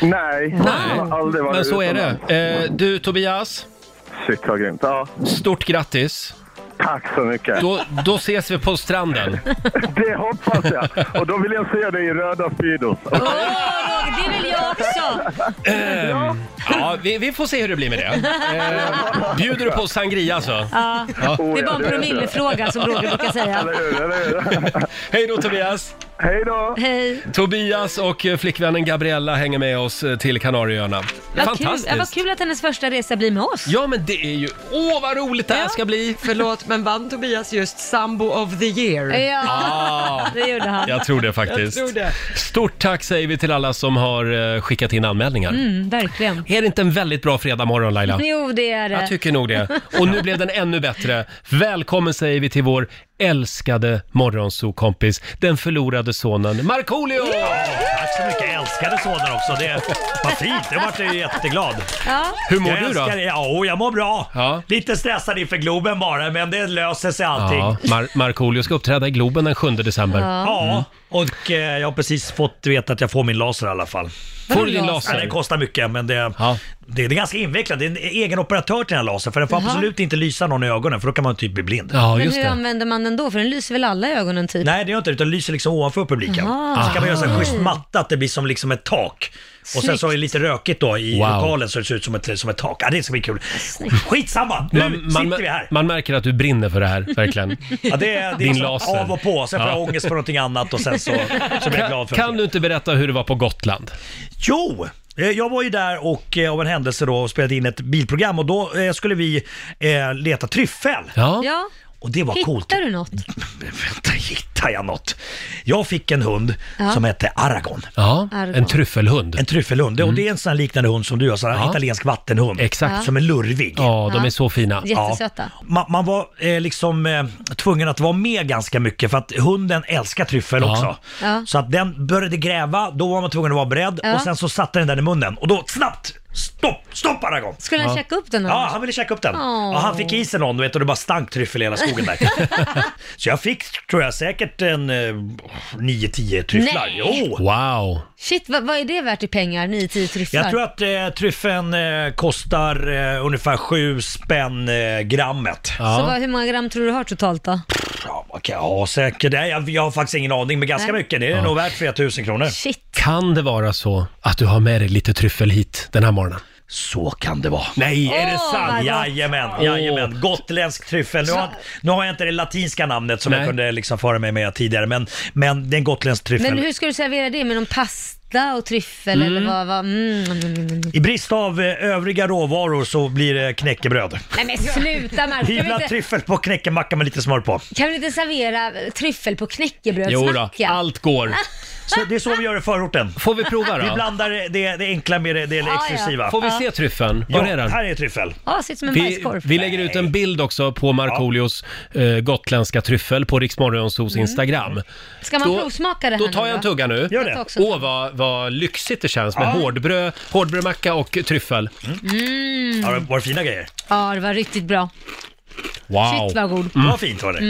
Speaker 8: Nej,
Speaker 1: Nej,
Speaker 8: hon har aldrig varit
Speaker 1: Men så är
Speaker 8: utomlands.
Speaker 1: det. Eh, du Tobias,
Speaker 8: Shit vad grymt. Ja,
Speaker 1: stort grattis.
Speaker 8: tack så mycket.
Speaker 1: Då, då ses vi på
Speaker 2: *laughs*
Speaker 1: stranden.
Speaker 8: Det hoppas jag. Och då vill jag se dig i röda Speedos.
Speaker 2: Åh, Roger, det vill jag också!
Speaker 1: Ja, vi, vi får se hur det blir med det. Eh, bjuder du på sangria alltså? så?
Speaker 2: Ja.
Speaker 8: Oh,
Speaker 2: Det är
Speaker 8: ja,
Speaker 2: bara en
Speaker 8: det är
Speaker 2: promillefråga som Roger brukar säga.
Speaker 8: Eller hur, *laughs* eller hur?
Speaker 1: Hej då Tobias!
Speaker 8: Hej då!
Speaker 2: Hej.
Speaker 1: Tobias och eh, flickvännen Gabriella hänger med oss eh, till Kanarieöarna.
Speaker 2: Vad kul.
Speaker 1: Fantastiskt!
Speaker 2: Ja, vad kul att hennes första resa blir med oss.
Speaker 1: Ja men det är ju, åh vad roligt det här ska bli!
Speaker 3: Förlåt, men vann Tobias just Sambo of the year?
Speaker 1: Ah,
Speaker 2: det gjorde han.
Speaker 1: jag tror det faktiskt.
Speaker 3: Eh, Jag tror det.
Speaker 1: Stort tack säger vi till alla som har eh, skickat in anmälningar.
Speaker 2: Mm, verkligen.
Speaker 1: Är det inte en väldigt bra fredagmorgon Laila?
Speaker 2: Jo, det är
Speaker 1: Jag
Speaker 2: det.
Speaker 1: tycker nog det. Och nu blev den ännu bättre. Välkommen säger vi till vår älskade morgonsokompis, den förlorade sonen Markoolio!
Speaker 9: Tack så mycket. Jag älskade sonen också. Det var fint. Jag vart ju jätteglad.
Speaker 2: Ja.
Speaker 1: Hur mår
Speaker 9: jag
Speaker 1: du då?
Speaker 9: älskar- Ja, oh, jag mår bra.
Speaker 1: Ja.
Speaker 9: Lite stressad inför Globen bara, men det löser sig allting.
Speaker 1: Ja,
Speaker 9: Ja.
Speaker 1: Mar- Markoolio ska uppträda i Globen den 7 december.
Speaker 9: och eh, jag har precis fått veta att jag får min laser i alla fall.
Speaker 1: Får du din
Speaker 2: Vadå
Speaker 9: Ja,
Speaker 1: laser?
Speaker 9: den kostar mycket, men det,
Speaker 1: Ja.
Speaker 9: det, det är ganska invecklat. Det är en egen operatör till den här lasern, för den får
Speaker 2: Jaha.
Speaker 9: absolut inte lysa någon i ögonen, för då kan man typ bli blind.
Speaker 1: Ja,
Speaker 2: Men
Speaker 1: just
Speaker 2: hur
Speaker 1: det.
Speaker 2: använder man den då? För den lyser väl alla i ögonen typ?
Speaker 9: Nej, det gör inte det, utan lyser liksom ovanför publiken.
Speaker 2: Jaha.
Speaker 9: Så kan man göra så här schysst matta, att det blir som liksom ett tak. Och sen så är det lite rökigt då i
Speaker 1: Wow.
Speaker 9: lokalen så det ser ut som ett, som ett tak. Ja, det ska bli kul. Skitsamma, nu
Speaker 1: Man, man,
Speaker 9: sitter vi här.
Speaker 1: man märker att du brinner för det här, verkligen.
Speaker 9: *laughs* Ja, det är, det
Speaker 1: Din
Speaker 9: är liksom
Speaker 1: laser.
Speaker 9: av och på, sen får jag
Speaker 1: Ja.
Speaker 9: ångest på någonting annat och sen
Speaker 1: *laughs*
Speaker 9: så, så blir jag glad för
Speaker 1: Kan
Speaker 9: det.
Speaker 1: du inte berätta hur det var på Gotland?
Speaker 9: Jo! eh, Jag var ju där och eh, av en händelse då spelade in ett bilprogram och då eh, skulle vi eh, leta tryffel.
Speaker 1: Ja.
Speaker 2: Ja.
Speaker 9: Och det var coolt.
Speaker 2: Hittar du något?
Speaker 9: *laughs* Vänta, hittar jag något? Jag fick en hund
Speaker 2: Ja.
Speaker 9: som hette Aragon.
Speaker 1: ja.
Speaker 2: Argon.
Speaker 1: En tryffelhund.
Speaker 9: En tryffelhund. Och det är en sån här liknande hund som du har, sån här
Speaker 1: Mm. Ja.
Speaker 9: italiensk vattenhund.
Speaker 1: Exakt.
Speaker 9: Som är lurvig.
Speaker 1: Ja, de är så fina.
Speaker 2: Jättesöta.
Speaker 9: Ja. Man, man var eh, liksom eh, tvungen att vara med ganska mycket för att hunden älskar tryffel
Speaker 1: Ja.
Speaker 9: också.
Speaker 2: Ja.
Speaker 9: Så att den började gräva, då var man tvungen att vara beredd
Speaker 2: Ja.
Speaker 9: och sen så satte den den i munnen och då snabbt, stopp, stopp Aragon!
Speaker 2: Skulle han käka upp den?
Speaker 9: Ja, han ville käka upp den.
Speaker 2: Åh.
Speaker 9: Ja, han fick i sig någon du vet, och det bara stank tryffel i hela skogen
Speaker 2: *laughs*
Speaker 9: där. så jag fick, tror jag, säkert en eh, 9-10 tryfflar.
Speaker 2: Nej.
Speaker 9: Jo!
Speaker 1: Wow!
Speaker 2: Shit, vad, vad är det värt i pengar? 9-10 tryfflar?
Speaker 9: Jag tror att eh, tryffeln eh, kostar eh, ungefär 7 spänn eh, grammet.
Speaker 2: Så
Speaker 1: Ja.
Speaker 2: vad, hur många gram tror du du har totalt då?
Speaker 9: Ja, vad kan jag ha säkert? Nej, jag, jag har faktiskt ingen aning, men ganska
Speaker 2: Nej.
Speaker 9: mycket. Det är nog värt 3000 kronor.
Speaker 2: Shit.
Speaker 1: Kan det vara så att du har med dig lite tryffel hit den här morgonen?
Speaker 9: Så kan det vara.
Speaker 1: Nej!
Speaker 2: Är det sant?
Speaker 9: Jajamän, jajamän. Gotländsk tryffel. Nu har, nu har jag inte det latinska namnet som
Speaker 1: Nej.
Speaker 9: jag kunde liksom föra mig med tidigare, men, men det är en gotländsk tryffel.
Speaker 2: Men hur ska du servera det? Med någon pasta och tryffel eller vad? vad? Mm. mm, mm, mm.
Speaker 9: I brist av eh, övriga råvaror så blir det knäckebröd.
Speaker 2: Nej men sluta Mark! Kan, vi
Speaker 9: Hyvla
Speaker 2: inte-
Speaker 9: tryffel på knäckemacka med lite smör på.
Speaker 2: kan vi inte servera tryffel på
Speaker 1: Jo då,
Speaker 2: knäckebrödsmacka?
Speaker 1: allt går.
Speaker 9: Så det är så vi gör i förorten.
Speaker 1: Får vi prova *laughs*
Speaker 9: Vi
Speaker 1: då?
Speaker 9: blandar det, det enkla med det, det
Speaker 2: ja.
Speaker 9: exklusiva.
Speaker 1: Får vi se tryffeln?
Speaker 9: Ja,
Speaker 1: Var är den?
Speaker 9: här är tryffel.
Speaker 2: Ja, sitter som en
Speaker 1: Vi,
Speaker 2: bajskorv.
Speaker 1: vi lägger ut en bild också på Markoolios eh, gotländska tryffel på Riksmorgonsos Instagram.
Speaker 2: Ska man provsmaka det här
Speaker 1: Då tar
Speaker 2: nu
Speaker 1: jag en
Speaker 2: då?
Speaker 1: tugga nu.
Speaker 9: Gör
Speaker 2: Jag tar
Speaker 9: det.
Speaker 2: också-
Speaker 1: Åh, vad, vad lyxigt det känns med hårdbröd, hårdbrödmacka och tryffel.
Speaker 9: Ja, det var fina grejer.
Speaker 2: Ja, det var riktigt bra.
Speaker 1: Wow!
Speaker 2: Shit vad god.
Speaker 1: Mm.
Speaker 9: Det var fint var det.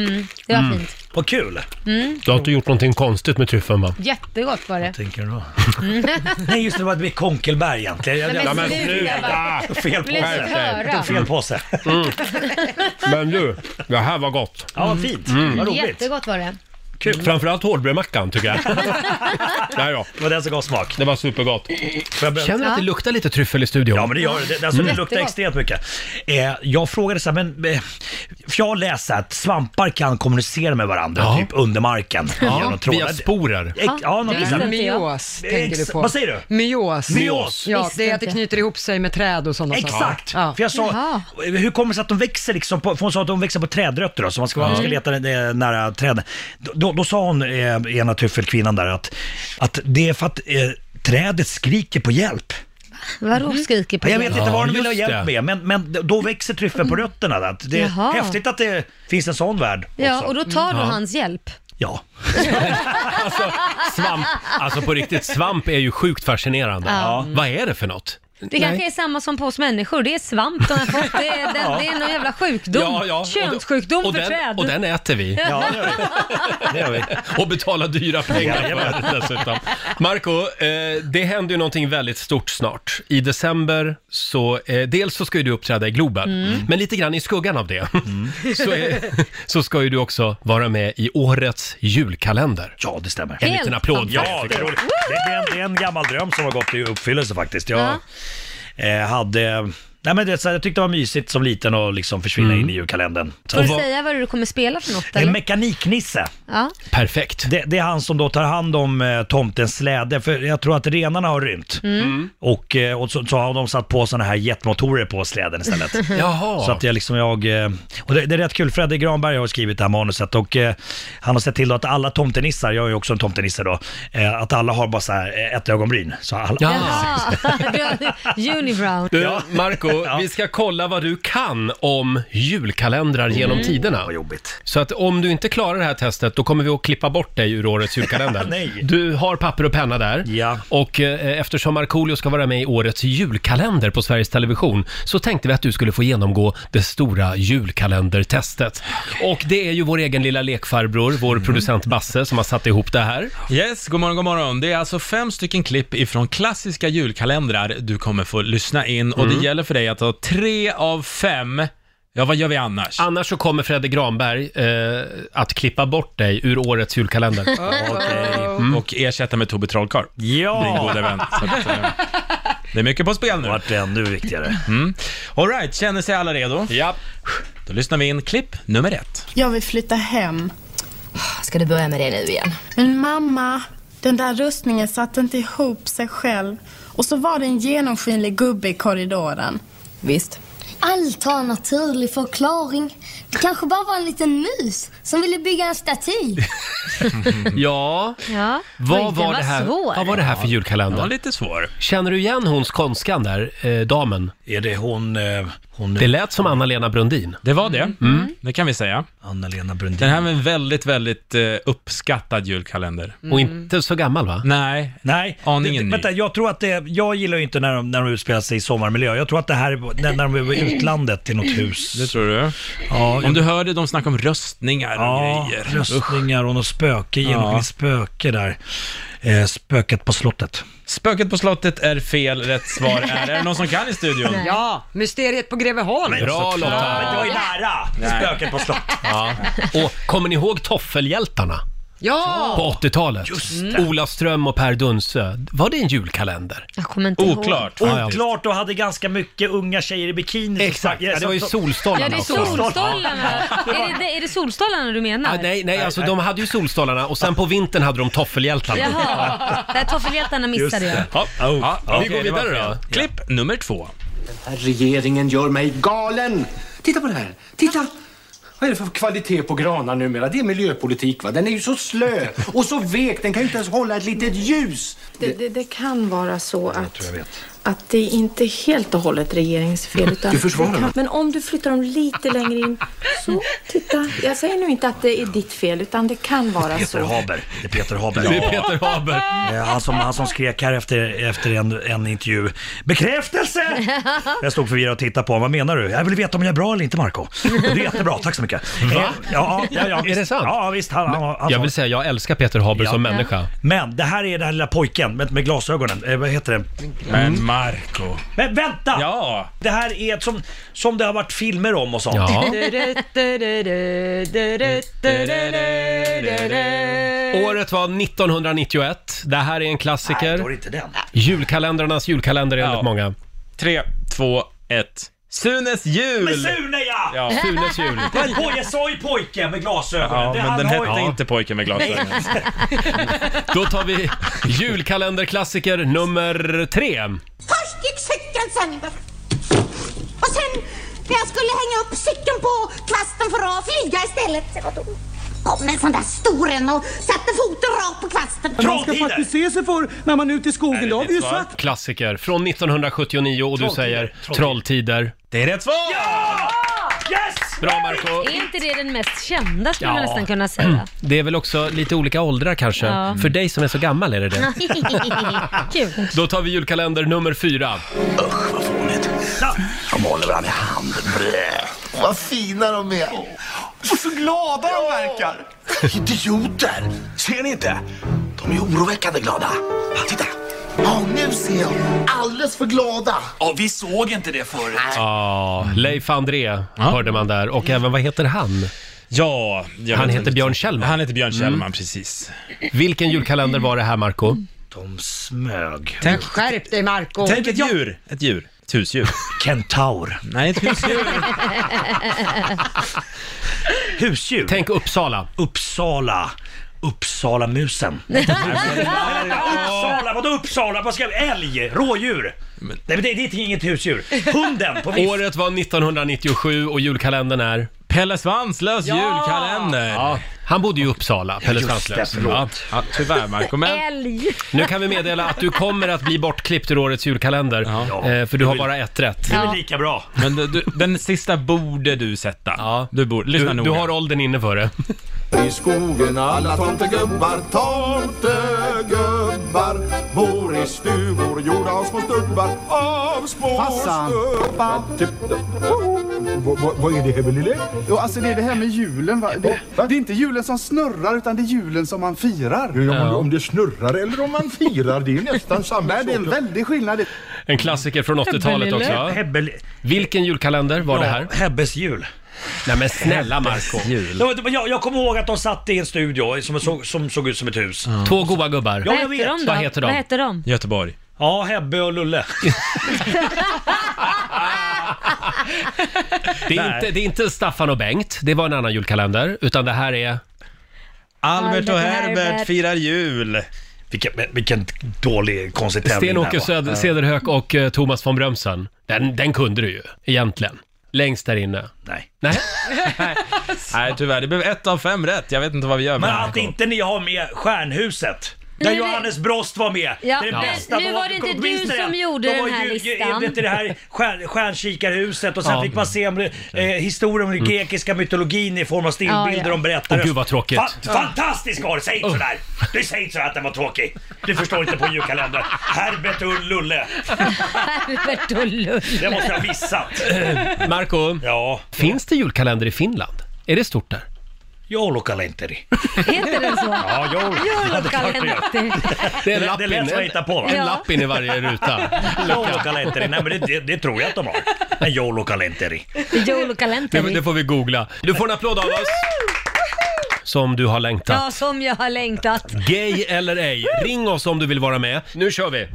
Speaker 2: Det var fint.
Speaker 9: Vad kul!
Speaker 1: Du har inte gjort någonting konstigt med tryffeln va?
Speaker 2: Jättegott var det.
Speaker 9: Tänker du då? *laughs* Nej just det, det var med Konkelberg egentligen. Jag,
Speaker 2: Nej,
Speaker 9: jag,
Speaker 2: Mm. men sluta bara.
Speaker 9: fel
Speaker 2: Vill inte
Speaker 9: påse.
Speaker 2: höra.
Speaker 9: Fel påse.
Speaker 1: Men du, det här var gott.
Speaker 9: Ja, vad fint.
Speaker 1: Mm.
Speaker 9: Vad roligt. Det
Speaker 2: Jättegott var det.
Speaker 1: Kul. Framförallt hårdbrödmackan tycker jag. *laughs* Nej, ja,
Speaker 9: var den som gav smak.
Speaker 1: det var supergott.
Speaker 9: Får jag börja-
Speaker 1: Känner du att det luktar lite tryffel i studion?
Speaker 9: Ja men det gör det. det. Alltså,
Speaker 2: Mm.
Speaker 9: det luktar extremt mycket. Eh, jag frågade så här, men... Eh, för jag har läst så här att svampar kan kommunicera med varandra,
Speaker 1: Ja.
Speaker 9: typ under marken. genom trådar.
Speaker 1: Via sporer.
Speaker 9: Ex- Ja, något
Speaker 2: det visste
Speaker 9: sånt.
Speaker 2: inte jag.
Speaker 3: Myos tänker du på.
Speaker 9: Vad säger du?
Speaker 3: Myos.
Speaker 9: Myos.
Speaker 3: Ja,
Speaker 2: Visste
Speaker 3: det är att
Speaker 2: inte.
Speaker 3: det knyter ihop sig med träd och sådana saker.
Speaker 9: Exakt!
Speaker 3: Ja.
Speaker 9: För jag sa,
Speaker 2: Jaha.
Speaker 9: hur kommer det sig att de växer liksom på, för hon sa att de växer på trädrötter då, så man ska,
Speaker 2: Mm.
Speaker 9: man ska leta eh, nära träden. Då, då, då sa hon, eh, ena tryffelkvinnan där, att, att det är för att eh, trädet skriker på hjälp.
Speaker 2: Vadå
Speaker 1: Mm.
Speaker 2: skriker på
Speaker 9: Jag vet
Speaker 2: det?
Speaker 9: inte vad de
Speaker 1: just
Speaker 9: vill ha hjälp
Speaker 1: det.
Speaker 9: med, men, men då växer tryffeln på rötterna. Där. Det är
Speaker 2: Mm. Jaha.
Speaker 9: häftigt att det finns en sån värld också.
Speaker 2: Ja, och då
Speaker 1: Mm.
Speaker 2: tar du hans hjälp.
Speaker 9: ja.
Speaker 1: Svamp, alltså på riktigt, svamp är ju sjukt fascinerande. Vad är det för något?
Speaker 2: Det kanske är samma som på oss människor, det är svamp de har fått. Det är, det, det är någon jävla sjukdom. Könssjukdom
Speaker 1: och
Speaker 2: för
Speaker 1: den,
Speaker 2: träd.
Speaker 1: Och den äter vi.
Speaker 9: Ja, det gör vi. Det gör vi.
Speaker 1: Och betalar dyra pengar för det dessutom. Marco, eh, det händer ju någonting väldigt stort snart. I december så, eh, dels så ska ju du uppträda i Globen,
Speaker 9: Mm.
Speaker 1: men lite grann i skuggan av det *laughs* så, är, så ska ju du också vara med i årets julkalender.
Speaker 9: Ja, det stämmer.
Speaker 1: En
Speaker 2: Helt
Speaker 1: liten applåd för
Speaker 9: Ja, det
Speaker 1: det. tycker
Speaker 9: är,
Speaker 1: jag.
Speaker 9: roligt. Det, det, är en, det är en gammal dröm som har gått i uppfyllelse faktiskt. Jag eh, hade... Nej, men det, är så här, jag tyckte det var mysigt som liten att liksom försvinna
Speaker 1: Mm.
Speaker 9: in i julkalendern. Så,
Speaker 2: Får du
Speaker 9: vad-
Speaker 2: säga vad du kommer spela för något
Speaker 9: en
Speaker 2: eller?
Speaker 9: mekaniknisse.
Speaker 2: Ja.
Speaker 1: Perfekt.
Speaker 9: Det, det är han som då tar hand om eh, tomtens släde, för jag tror att renarna har rymt.
Speaker 1: Mm.
Speaker 9: Och, eh, och så, så har de satt på sådana här jetmotorer på släden
Speaker 1: *laughs*
Speaker 9: istället.
Speaker 1: Jaha.
Speaker 9: Så att jag liksom jag, eh, och det, det är rätt kul, Fredde Granberg har skrivit det här manuset och eh, han har sett till då att alla tomtenissar, jag är ju också en tomtenisse då, eh, att alla har bara så här eh, ett ögonbryn. Så alla,
Speaker 1: Ja.
Speaker 2: Jaha, *laughs* Unibrown.
Speaker 1: Du, Marco,
Speaker 9: *laughs* Ja.
Speaker 1: vi ska kolla vad du kan om julkalendrar genom
Speaker 9: Mm.
Speaker 1: tiderna.
Speaker 9: Vad jobbigt.
Speaker 1: Så att om du inte klarar det här testet, då kommer vi att klippa bort dig ur årets julkalender.
Speaker 9: *laughs* Nej.
Speaker 1: Du har papper och penna där.
Speaker 9: Ja.
Speaker 1: Och eh, eftersom Markoolio ska vara med i årets julkalender på Sveriges Television så tänkte vi att du skulle få genomgå det stora julkalendertestet. Och det är ju vår egen lilla lekfarbror, vår
Speaker 9: Mm.
Speaker 1: producent Basse, som har satt ihop det här.
Speaker 6: Yes, god morgon, god morgon. Det är alltså fem stycken klipp ifrån klassiska julkalendrar du kommer få lyssna in och det gäller för dig att ha tre av fem. Ja, vad gör vi annars?
Speaker 1: Annars så kommer Fredde Granberg eh, att klippa bort dig ur årets julkalender.
Speaker 6: Och ersätta med Tobbe Trollkarl, din
Speaker 9: Ja!
Speaker 6: goda vän. Så att, eh, det är mycket på spel nu.
Speaker 9: Vart det ännu viktigare.
Speaker 6: Alright, känner sig alla redo?
Speaker 1: Ja.
Speaker 6: Då lyssnar vi in klipp nummer ett.
Speaker 10: Jag vill flytta hem.
Speaker 5: Ska du börja med det nu igen?
Speaker 10: Men mamma, den där rustningen satte inte ihop sig själv. Och så var det en genomskinlig gubbe i korridoren.
Speaker 5: Visst.
Speaker 11: Allt har en naturlig förklaring. Det kanske bara var en liten mus som ville bygga en staty.
Speaker 1: ja.
Speaker 2: Ja. Oj,
Speaker 1: Vad
Speaker 2: den
Speaker 1: var, det här,
Speaker 2: svår.
Speaker 1: vad var det här för
Speaker 6: Den var
Speaker 1: julkalender?
Speaker 6: lite svår.
Speaker 1: Känner du igen hon skånskan där, eh, damen?
Speaker 9: Är det hon, eh, hon
Speaker 1: Det lät som Anna-Lena Brundin.
Speaker 6: Det var det, det kan vi säga.
Speaker 9: Anna-Lena Brundin?
Speaker 6: Den här var en väldigt, väldigt eh, uppskattad julkalender.
Speaker 1: Och inte så gammal va?
Speaker 6: Nej,
Speaker 9: Nej,
Speaker 6: Aningen
Speaker 9: det,
Speaker 6: ny.
Speaker 9: vänta, jag tror att det, jag gillar ju inte när de, när de utspelar sig i sommarmiljö. Jag tror att det här är när, när de är i utlandet i något hus.
Speaker 6: det tror du.
Speaker 9: Ja, jag-
Speaker 6: Om du hörde dem snacka om röstningar och
Speaker 9: Ja,
Speaker 6: grejer.
Speaker 9: röstningar och något spöke, genomskinligt spöke där. Eh, spöket på slottet.
Speaker 6: Spöket på slottet är fel, rätt svar är... Är det någon som kan i studion?
Speaker 3: Ja, mysteriet på Greveholm.
Speaker 1: Bra
Speaker 9: det
Speaker 1: Lotta!
Speaker 9: var ju nära! Spöket på slottet.
Speaker 1: Och kommer ni ihåg Toffelhjältarna
Speaker 3: Ja!
Speaker 1: på 80-talet? Ola Ström och Per Dunsö. Var det en julkalender?
Speaker 2: Jag kommer
Speaker 1: Oh,
Speaker 2: inte ihåg.
Speaker 6: Oklart.
Speaker 1: Ja, ja.
Speaker 9: Oklart och hade ganska mycket unga tjejer i bikini. som
Speaker 1: Exakt,
Speaker 9: sa- ja,
Speaker 1: ja, det var ju
Speaker 9: som-
Speaker 2: Ja, det
Speaker 1: Solstollarna
Speaker 2: är
Speaker 1: också.
Speaker 2: solstollarna. Är det, det, är det solstollarna du menar?
Speaker 1: Ah, nej, nej, alltså de hade ju Solstollarna och sen på vintern hade de Toffelhjältarna.
Speaker 2: Jaha, där toffelhjältarna missade jag.
Speaker 1: Ja,
Speaker 6: Ja,
Speaker 1: ja, vi
Speaker 6: okej,
Speaker 1: går
Speaker 6: det var
Speaker 1: vidare då.
Speaker 6: fel. Klipp nummer två.
Speaker 7: Den här regeringen gör mig galen! Titta på det här! Titta! Vad är det för kvalitet på granar numera? Det är miljöpolitik va? Den är ju så slö och så vek, den kan ju inte ens hålla ett litet ljus!
Speaker 10: Det, det, det kan vara så att, att det inte är helt och hållet regeringsfel. Utan
Speaker 7: Mm. Du försvarar
Speaker 10: det kan,
Speaker 7: mig.
Speaker 10: Men om du flyttar dem lite längre in. Så, titta. Jag säger nu inte att det är ditt fel, utan det kan vara
Speaker 9: Peter
Speaker 10: så.
Speaker 9: Haber. Det är Peter Haber.
Speaker 1: Det är Peter Haber.
Speaker 9: Eh, Han som, han som skrek här efter, efter en, en intervju. Bekräftelse! Jag stod förvirrad och tittade på honom. Vad menar du? Jag vill veta om jag är bra eller inte Marco. Och det är jättebra, tack så mycket. Eh, Ja, ja, ja, visst.
Speaker 1: det sant?
Speaker 9: Ja, visst. Han, han, han,
Speaker 1: Jag vill säga, jag älskar Peter Haber
Speaker 9: Ja.
Speaker 1: som människa.
Speaker 9: Men det här är den här lilla pojken med, med glasögonen. Eh, vad heter det?
Speaker 1: Mm.
Speaker 6: Men Marco.
Speaker 9: Men vänta!
Speaker 6: Ja.
Speaker 9: Det här är ett som, som det har varit filmer om och sånt.
Speaker 1: Ja. Året var 1991. Det här är en
Speaker 9: Mm. Nej, då är
Speaker 1: klassiker.
Speaker 9: det inte den.
Speaker 1: Julkalendrarnas julkalender enligt
Speaker 9: *laughs*
Speaker 6: Ja.
Speaker 1: många.
Speaker 6: Tre, två, ett. Sunes jul!
Speaker 9: Men Sune ja!
Speaker 6: Ja,
Speaker 1: Sunes jul.
Speaker 9: *laughs* Men poj- Jag sa ju pojken med glasögonen.
Speaker 6: ja
Speaker 9: Det-
Speaker 6: men
Speaker 9: han
Speaker 6: den
Speaker 9: har
Speaker 6: hette
Speaker 9: ju-
Speaker 6: inte Pojken med glasögon.
Speaker 1: Då tar vi julkalenderklassiker nummer tre.
Speaker 11: Först gick cykeln sönder. Och sen när jag skulle hänga upp cykeln på kvasten för att flyga istället. Då kom en sån där stor en och satte foten rakt på kvasten.
Speaker 9: Trolltider!
Speaker 7: se sig för när man är ute i skogen, det har vi ju sagt!
Speaker 1: Klassiker från 1979 och du
Speaker 9: Trolltider,
Speaker 1: säger
Speaker 9: trolltider.
Speaker 1: Trolltider.
Speaker 6: Det är rätt svar!
Speaker 9: Yes!
Speaker 1: Bra Marco
Speaker 2: Är inte det den mest kända skulle
Speaker 1: Ja.
Speaker 2: man nästan kunna säga?
Speaker 1: Det är väl också lite olika åldrar kanske.
Speaker 2: Ja.
Speaker 1: För dig som är så gammal är det
Speaker 2: *laughs*
Speaker 1: det. Mm.
Speaker 2: Kul.
Speaker 1: Då tar vi julkalender nummer fyra.
Speaker 12: Usch vad fånigt. De håller varandra i hand. Blä. Vad fina de är. Och så glada de verkar. Idioter! Ser ni inte? De är oroväckande glada. Titta! Ja, nu ser jag. Alldeles för glada. Ja, vi såg inte det förut.
Speaker 1: Ja, Leif André hörde man där. Och även, vad heter han?
Speaker 6: Ja,
Speaker 1: han heter Björn Kjellman.
Speaker 6: Han heter Björn Kjellman,
Speaker 1: Mm.
Speaker 6: precis.
Speaker 1: Vilken julkalender var det här, Marco?
Speaker 9: Mm. De smög.
Speaker 6: Tänk,
Speaker 3: Skärp dig Marco
Speaker 6: tänk ett djur, ett djur. Ett husdjur.
Speaker 9: Kentaur.
Speaker 6: Nej, ett husdjur.
Speaker 9: Husdjur.
Speaker 1: Tänk Uppsala.
Speaker 9: Uppsala. Uppsalamusen. Uppsala, vadå Uppsala? Vad ska jag... Älg? Rådjur? Nej men det, det är inget husdjur.
Speaker 1: *laughs*
Speaker 9: Hunden på vift.
Speaker 1: Året var 1997 och julkalendern är?
Speaker 6: Pelle Svanslös
Speaker 1: Ja!
Speaker 6: julkalender.
Speaker 1: Ja, han bodde ju i Uppsala, Pelle
Speaker 6: Just det,
Speaker 1: Svanslös.
Speaker 6: förlåt. Ja, tyvärr Marco, men...
Speaker 2: Älg.
Speaker 1: Nu kan vi meddela att du kommer att bli bortklippt ur årets julkalender. Eh, för du har bara ett rätt.
Speaker 9: Det är väl lika bra.
Speaker 6: Men du, du, den sista borde du sätta. Ja. Du, borde, lyssna
Speaker 1: Du,
Speaker 6: noga.
Speaker 1: du har åldern inne för det.
Speaker 12: I skogen alla tomtegubbar, tomtegubbar bor i stugor gjorda av små stubbar, av små
Speaker 13: Farsan,
Speaker 12: stubbar. Vad är det här med lille?
Speaker 13: Jo, alltså det är det här med julen va? Det, det är inte julen som snurrar utan det är julen som man firar.
Speaker 12: Ja. Om det snurrar eller om man firar, det är ju
Speaker 13: *laughs*
Speaker 12: nästan samma
Speaker 13: Nej, det är en
Speaker 12: sak.
Speaker 13: väldig skillnad.
Speaker 1: En klassiker från 80-talet också.
Speaker 9: Hebbelille. Hebbel-
Speaker 1: Vilken julkalender var det här?
Speaker 9: Hebbes jul.
Speaker 1: Nej men snälla Marco
Speaker 9: Ja, men Jag, jag kommer ihåg att de satt i en studio som, som, som såg ut som ett hus.
Speaker 1: Två goa gubbar.
Speaker 9: Ja, jag
Speaker 2: Vad heter de
Speaker 9: vet.
Speaker 2: då?
Speaker 9: Vad heter de?
Speaker 2: Vad heter de?
Speaker 6: Göteborg.
Speaker 9: Ja, Hebbe och
Speaker 1: *laughs*
Speaker 9: Lulle.
Speaker 1: Det är, inte, det är inte Staffan och Bengt, det var en annan julkalender, utan det här är...
Speaker 6: Albert
Speaker 9: Albert
Speaker 6: och
Speaker 9: och
Speaker 6: Herbert,
Speaker 9: Herbert.
Speaker 6: firar jul.
Speaker 9: Vilken, vilken dålig konstig tävling
Speaker 1: Sten-Åke
Speaker 9: det här var.
Speaker 1: Söd- Cederhök och eh, Thomas von Brömsen. Den, den kunde du ju, egentligen. Längst där inne.
Speaker 9: Nej.
Speaker 1: Nej.
Speaker 6: Nej, tyvärr. Det blev ett av fem rätt. Jag vet inte vad vi gör med
Speaker 9: Men
Speaker 6: det här,
Speaker 9: att inte ni har med Stjärnhuset.
Speaker 2: Men
Speaker 9: Där
Speaker 2: nu-
Speaker 9: Johannes Brost var med.
Speaker 2: Ja,
Speaker 9: det är det
Speaker 2: men
Speaker 9: bästa
Speaker 2: nu
Speaker 9: de
Speaker 2: var det inte du
Speaker 9: minns ni
Speaker 2: som
Speaker 9: det?
Speaker 2: gjorde
Speaker 9: De
Speaker 2: den
Speaker 9: var
Speaker 2: här
Speaker 9: ju- eh,
Speaker 2: listan.
Speaker 9: Vet du, det här stjär, stjärnkikarhuset och sen
Speaker 1: Ja. Mm.
Speaker 9: fick man se om, eh, historien om den grekiska mytologin i form av stillbilder
Speaker 1: Ja, ja.
Speaker 9: de berättade.
Speaker 1: Åh, gud, vad tråkigt.
Speaker 9: Fa- fantastiskt var det! Säg inte sådär! Du säger inte sådär att den var tråkig. Du förstår inte på julkalendern. Herbert och Lulle.
Speaker 2: Herbert och Lulle.
Speaker 9: Det måste jag ha
Speaker 1: *laughs*
Speaker 9: missat.
Speaker 1: Marco,
Speaker 9: ja.
Speaker 1: finns det julkalender i Finland? Är det stort där?
Speaker 9: Joulukalenteri.
Speaker 2: Heter den så?
Speaker 9: Ja, jol.
Speaker 2: *laughs*
Speaker 1: Det
Speaker 9: Det-
Speaker 1: är en lapp
Speaker 9: det lät
Speaker 1: in-
Speaker 9: som att hitta på, va?
Speaker 1: En
Speaker 9: Ja.
Speaker 1: lapp in i varje
Speaker 9: *laughs*
Speaker 1: ruta.
Speaker 9: Joulukalenteri. Nej men det, det, det tror jag att de har. En joulukalenteri.
Speaker 1: Det,
Speaker 2: Joulukalendern.
Speaker 1: det får vi googla. Du får en applåd av oss. Som du har längtat.
Speaker 2: Ja, som jag har längtat.
Speaker 1: Gay eller ej, ring oss om du vill vara med. Nu kör vi!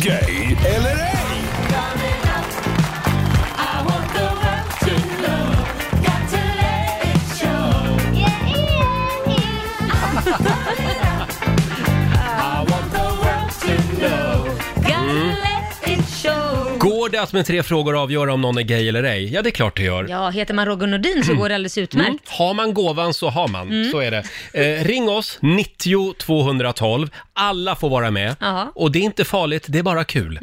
Speaker 4: Gay eller ej?
Speaker 1: Går det att med tre frågor avgöra om någon är gay eller ej? Ja, det är klart det gör.
Speaker 2: Ja, heter man Roger Nordin så går det alldeles utmärkt.
Speaker 1: Mm. Har man gåvan så har man,
Speaker 2: Mm.
Speaker 1: så är det. Eh, ring oss, 90 212. Alla får vara med.
Speaker 2: Ja. Mm.
Speaker 1: Och det är inte farligt, det är bara kul.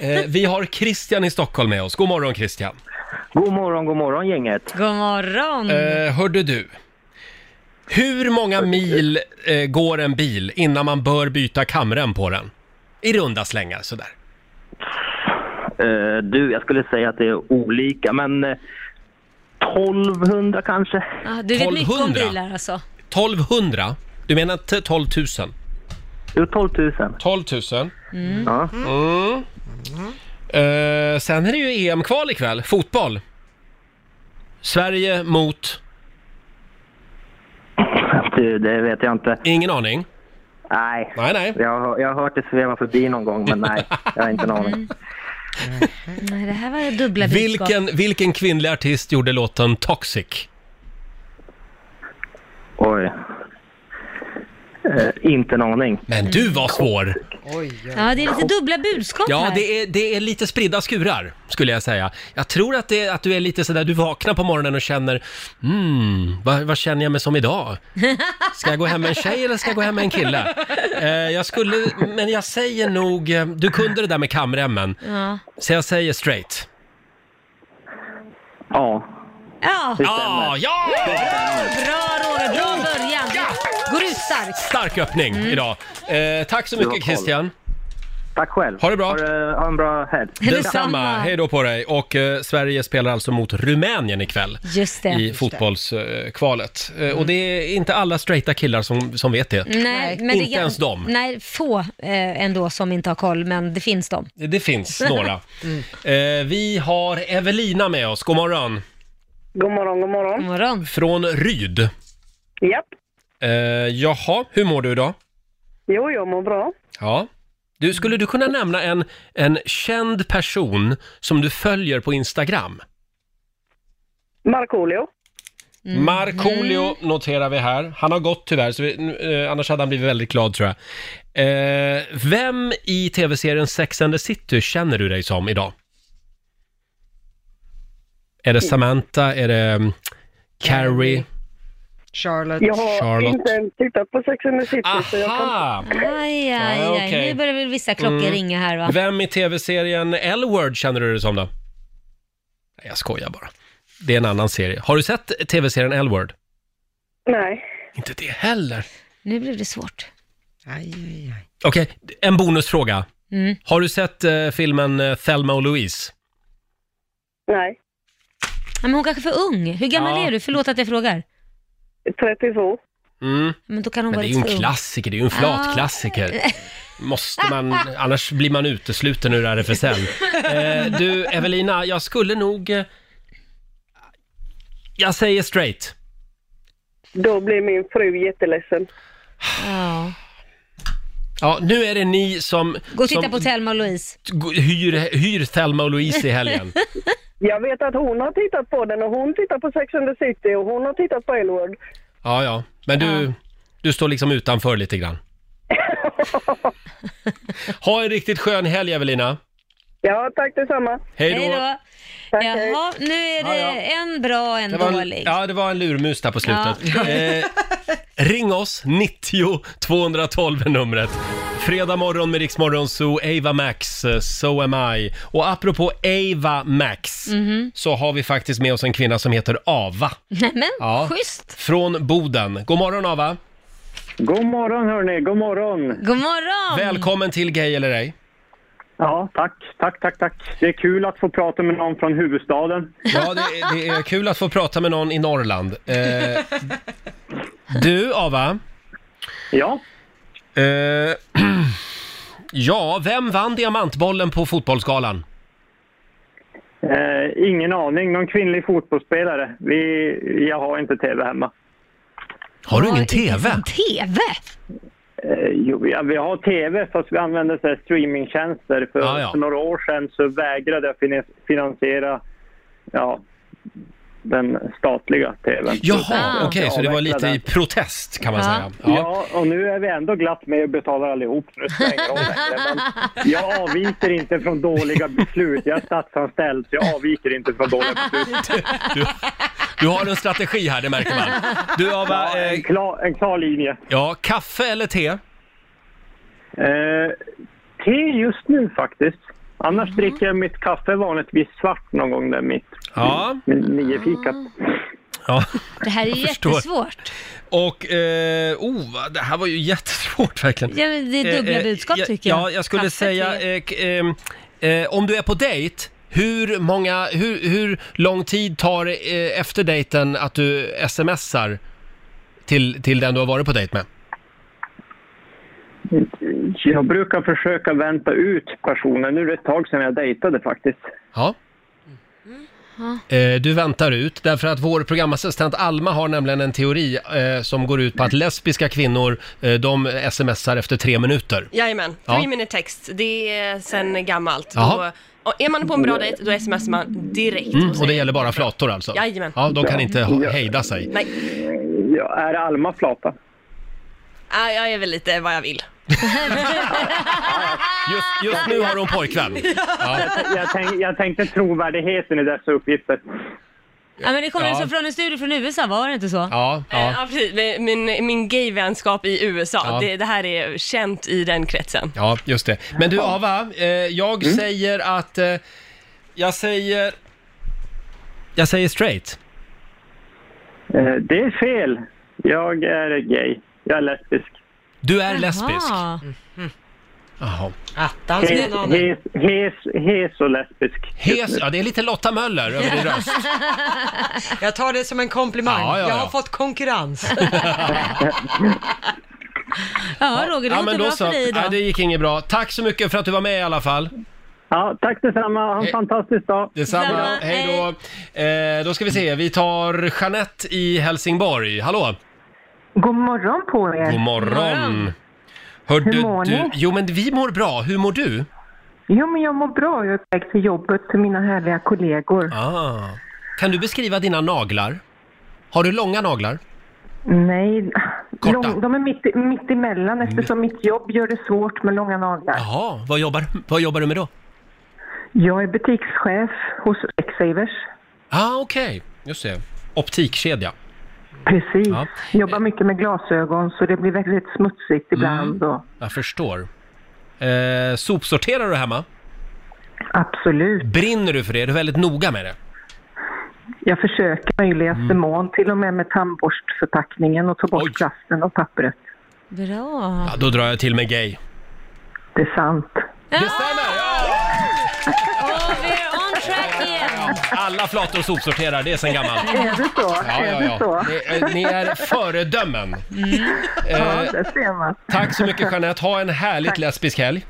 Speaker 1: Eh, vi har Christian i Stockholm med oss. God morgon Christian.
Speaker 14: God morgon, god morgon gänget.
Speaker 2: God morgon.
Speaker 1: Eh, hörde du, hur många mil eh, går en bil innan man bör byta kamrem på den? I runda slängar sådär.
Speaker 14: Eh, du, jag skulle säga att det är olika, men eh, 1200 kanske?
Speaker 2: Ja, du vet mycket om
Speaker 1: 1200.
Speaker 2: bilar alltså.
Speaker 1: 1200? Du menar t- 12 000?
Speaker 14: Jo, 12 000.
Speaker 1: 12 000.
Speaker 2: Mm.
Speaker 14: Ja.
Speaker 1: Mm. Eh, sen är det ju EM-kval ikväll, fotboll. Sverige mot...
Speaker 14: Du, det vet jag inte.
Speaker 1: Ingen aning?
Speaker 14: Nej.
Speaker 1: Nej, nej.
Speaker 14: Jag, har- jag har hört det sväva förbi någon gång, men nej, jag har inte en aning.
Speaker 2: Nej, det här var dubbla budskap.
Speaker 1: Vilken, vilken kvinnlig artist gjorde låten Toxic?
Speaker 14: Oj. Eh, Eh, inte en aning.
Speaker 1: Men du var svår!
Speaker 2: Ja, det är lite dubbla budskap
Speaker 1: Ja,
Speaker 2: här.
Speaker 1: det är, det är lite spridda skurar, skulle jag säga. Jag tror att, det, att du är lite sådär, du vaknar på morgonen och känner, mm, vad, vad känner jag mig som idag? Ska jag gå hem med en tjej eller ska jag gå hem med en kille? Eh, jag skulle, men jag säger nog, eh, du kunde det där med kamremmen,
Speaker 2: Ja.
Speaker 1: så jag säger straight.
Speaker 14: Ja.
Speaker 2: Ja!
Speaker 1: Det stämmer. Ja, Ah, ja!
Speaker 2: Bra Roger, bra början. Går ut starkt.
Speaker 1: Stark öppning idag. Eh, tack så
Speaker 14: Du har
Speaker 1: mycket
Speaker 14: koll.
Speaker 1: Christian.
Speaker 14: Tack själv.
Speaker 1: Ha det bra.
Speaker 14: Ha, en bra helg.
Speaker 1: Detsamma, hej då på dig. Och eh, Sverige spelar alltså mot Rumänien ikväll.
Speaker 2: Just det.
Speaker 1: i fotbollskvalet. Eh, Och det är inte alla straighta killar som, som vet det.
Speaker 2: Nej, men
Speaker 1: inte
Speaker 2: det,
Speaker 1: ens dem.
Speaker 2: Nej, få eh, ändå som inte har koll, men det finns dem.
Speaker 1: Det finns några. Eh, vi har Evelina med oss, god morgon.
Speaker 15: God morgon, god morgon.
Speaker 2: God morgon.
Speaker 1: Från Ryd.
Speaker 15: Japp.
Speaker 1: Eh, jaha, hur mår du idag?
Speaker 15: Jo, jag mår bra.
Speaker 1: Ja. Du, skulle du kunna nämna en, en känd person som du följer på Instagram?
Speaker 15: Markoolio.
Speaker 1: Markoolio noterar vi här. Han har gått tyvärr, så vi, eh, annars hade han blivit väldigt glad tror jag. Eh, vem i tv-serien Sex and the City känner du dig som idag? Är det Samantha? Är det mm, Carrie?
Speaker 3: Charlotte.
Speaker 15: Jag har
Speaker 1: Charlotte.
Speaker 15: inte ens tittat på Sex and the City. Så jag
Speaker 1: Aha!
Speaker 15: kan...
Speaker 2: Aj, aj,
Speaker 1: Ja,
Speaker 2: aj.
Speaker 1: okej.
Speaker 2: Nu börjar väl vissa klockor
Speaker 1: Mm.
Speaker 2: ringa här va?
Speaker 1: Vem i tv-serien L Word känner du dig som då? Nej, jag skojar bara. Det är en annan serie. Har du sett tv-serien L Word?
Speaker 15: Nej.
Speaker 1: Inte det heller.
Speaker 2: Nu blev det svårt.
Speaker 1: Okej, en bonusfråga.
Speaker 2: Mm.
Speaker 1: Har du sett eh, filmen eh, Thelma och Louise?
Speaker 15: Nej.
Speaker 2: Ja, men hon kanske är för ung. Hur gammal
Speaker 1: Ja.
Speaker 2: är du? Förlåt att jag frågar.
Speaker 15: 32.
Speaker 1: Mm.
Speaker 2: Men då kan
Speaker 1: Men
Speaker 2: hon
Speaker 1: det
Speaker 2: vara
Speaker 1: är ju
Speaker 2: lite
Speaker 1: en
Speaker 2: för ung.
Speaker 1: klassiker, det är ju en flat
Speaker 2: Ja.
Speaker 1: klassiker.
Speaker 2: Ah. *laughs*
Speaker 1: Måste man, annars blir man utesluten ur RFSL. Eh, du, Evelina, jag skulle nog... eh, Jag säger straight.
Speaker 15: Då blir min fru jätteledsen.
Speaker 2: Ja.
Speaker 1: Ja, nu är det ni som...
Speaker 2: Gå och titta
Speaker 1: som
Speaker 2: på Thelma och Louise.
Speaker 1: g- hyr, hyr Thelma och Louise i
Speaker 2: *laughs*
Speaker 1: helgen.
Speaker 15: Jag vet att hon har tittat på den och hon tittar på Sex and the City och hon har tittat på Elwood.
Speaker 1: Ja, ja. Men du, du står liksom utanför lite
Speaker 2: *laughs*
Speaker 1: grann. Ha en riktigt skön helg, Evelina.
Speaker 15: Ja, tack detsamma.
Speaker 1: Hej då. Hej då.
Speaker 2: Jaha, nu är det en bra en
Speaker 1: Det var en,
Speaker 2: dålig.
Speaker 1: ja, det var en lurmus där på slutet.
Speaker 2: Ja.
Speaker 1: Eh, ring oss, 90 212 är numret. Fredag morgon med Riksmorgon Zoo, Ava Max, eh, So am I. Och apropå Ava Max,
Speaker 2: Mhm.
Speaker 1: så har vi faktiskt med oss en kvinna som heter Ava.
Speaker 2: Nämen,
Speaker 1: Ja.
Speaker 2: schysst.
Speaker 1: Från Boden. God morgon Ava!
Speaker 16: God morgon hörni, god morgon!
Speaker 2: God morgon!
Speaker 1: Välkommen till Gay eller ej.
Speaker 16: Ja, tack, tack, tack, tack. Det är kul att få prata med någon från huvudstaden.
Speaker 1: Ja, det, det är kul att få prata med någon i Norrland. Eh, du, Ava.
Speaker 16: Ja?
Speaker 1: Eh, ja, vem vann diamantbollen på Fotbollsgalan?
Speaker 16: Eh, ingen aning, någon kvinnlig fotbollsspelare. Vi, jag har inte tv hemma.
Speaker 1: Har du ingen TV?
Speaker 2: TV?
Speaker 16: Eh, jo, ja, vi har tv fast vi använder så här streamingtjänster. För,
Speaker 1: Ja, ja.
Speaker 16: för några år sedan så vägrade jag fin- finansiera ja, den statliga tvn.
Speaker 1: Jaha,
Speaker 2: Ah.
Speaker 1: okej, så det var lite i
Speaker 16: Avvecklade.
Speaker 1: protest kan man säga.
Speaker 16: Ja. och nu är vi ändå glatt med och betalar allihop. Nu spelar det ingen roll längre, men jag avviker inte från dåliga beslut. Jag är statsanställd, så jag avviker inte från dåliga beslut.
Speaker 1: Du har en strategi här, det märker man.
Speaker 2: *laughs*
Speaker 1: Du, Ava,
Speaker 16: ja, en, klar, en klar linje.
Speaker 1: Ja, kaffe eller te?
Speaker 16: Eh, te just nu faktiskt. Annars dricker jag mitt kaffe vanligtvis svart någon gång där mitt
Speaker 1: Ja.
Speaker 16: vid niofikat.
Speaker 1: Ja.
Speaker 2: Det här är ju
Speaker 1: Jag förstår.
Speaker 2: jättesvårt.
Speaker 1: Och, eh, oh, vad- det här var ju jättesvårt verkligen.
Speaker 2: Ja, men det är dubbla budskap,
Speaker 1: Eh, ja,
Speaker 2: tycker jag.
Speaker 1: Ja, jag skulle
Speaker 2: Kaffe,
Speaker 1: säga,
Speaker 2: te.
Speaker 1: eh, k- ehm, eh, om du är på dejt, hur, många, hur, hur lång tid tar det eh, efter dejten att du smsar till, till den du har varit på dejt med?
Speaker 16: Jag brukar försöka vänta ut personen. Nu är det ett tag sedan jag dejtade faktiskt.
Speaker 1: Ja. Eh, Du väntar ut, därför att vår programassistent Alma har nämligen en teori eh, som går ut på att lesbiska kvinnor, eh, de smsar efter tre minuter.
Speaker 17: Jajamän,
Speaker 1: Ja.
Speaker 17: three minute text. Det är sen gammalt.
Speaker 1: Jaha.
Speaker 17: Då, och är man på en bra dejt, då smsar man direkt.
Speaker 1: Mm, och det
Speaker 17: säger-
Speaker 1: gäller bara flator alltså?
Speaker 17: Jajamän.
Speaker 1: Ja, de kan inte ha- hejda sig.
Speaker 17: Nej.
Speaker 16: Ja, är Alma flata?
Speaker 17: Ja, jag är väl lite vad jag vill.
Speaker 1: Just, just nu har hon pojkvän. *laughs* Ja.
Speaker 16: Jag, jag, tänk, jag tänkte trovärdigheten i dessa uppgifter.
Speaker 2: Ja, men det kommer
Speaker 17: Ja.
Speaker 2: så från en studie från USA, var det inte så?
Speaker 1: Ja,
Speaker 17: Ja, ja precis. Min, min gay-vänskap i USA,
Speaker 1: Ja.
Speaker 17: det, det här är känt i den kretsen.
Speaker 1: Ja, just det. Men du Ava, eh, jag säger att... Eh, jag säger... Jag säger straight.
Speaker 16: Eh, Det är fel. Jag är gay. Jag är lesbisk.
Speaker 1: Du är lesbisk.
Speaker 2: Ah. Mm.
Speaker 1: Jaha.
Speaker 16: Hes, hes, hes, hes och lesbisk.
Speaker 1: Hes, ja det är lite Lotta Möller över *laughs* din röst.
Speaker 3: Jag tar det som en komplimang.
Speaker 1: Ja, ja,
Speaker 3: Jag
Speaker 1: ja.
Speaker 3: har fått konkurrens.
Speaker 2: Ja, Roger, det
Speaker 1: ja,
Speaker 2: går inte bra för dig idag.
Speaker 1: Nej, det gick inget bra. Tack så mycket för att du var med i alla fall.
Speaker 16: Ja, tack detsamma. Ha en fantastisk dag.
Speaker 1: Detsamma.
Speaker 16: Detsamma.
Speaker 1: Hej då. Eh, då ska vi se, vi tar Jeanette i Helsingborg. Hallå!
Speaker 18: God morgon på er.
Speaker 1: God morgon! Hörde
Speaker 18: Hur mår
Speaker 1: du?
Speaker 18: ni?
Speaker 1: Jo men vi mår bra, hur mår du?
Speaker 18: Jo, men jag mår bra. Jag är på väg till jobbet till mina härliga kollegor.
Speaker 1: Ah. Kan du beskriva dina naglar? Har du långa naglar?
Speaker 18: Nej, lång, de är mitt, mitt emellan eftersom mitt jobb gör det svårt med långa naglar.
Speaker 1: Jaha, vad jobbar, vad jobbar du med då?
Speaker 18: Jag är butikschef hos Specsavers.
Speaker 1: Ah, okej. Just det. Optikkedja.
Speaker 18: Precis. Jobbar mycket med glasögon så det blir väldigt
Speaker 1: Mm.
Speaker 18: smutsigt ibland. Och,
Speaker 1: Jag förstår. Eh, sopsorterar du hemma?
Speaker 18: Absolut.
Speaker 1: Brinner du för det? Är du väldigt noga med det?
Speaker 18: jag försöker i möjligaste
Speaker 1: Mm.
Speaker 18: mån, till och med med tandborstförpackningen och ta bort plasten och pappret.
Speaker 2: Bra.
Speaker 1: Ja, då drar jag till med gay.
Speaker 18: Det är sant.
Speaker 2: Oh, we're on track igen.
Speaker 1: Alla flator sopsorterar, det är sen gammalt.
Speaker 18: Är det så?
Speaker 1: Ja,
Speaker 18: är
Speaker 1: ja,
Speaker 18: det så? Mm.
Speaker 1: ja. Ni, eh, ni är föredömen.
Speaker 18: Ja,
Speaker 1: Eh,
Speaker 18: det ser man.
Speaker 1: tack så mycket Jeanette, ha en härligt
Speaker 18: Tack.
Speaker 1: lesbisk helg.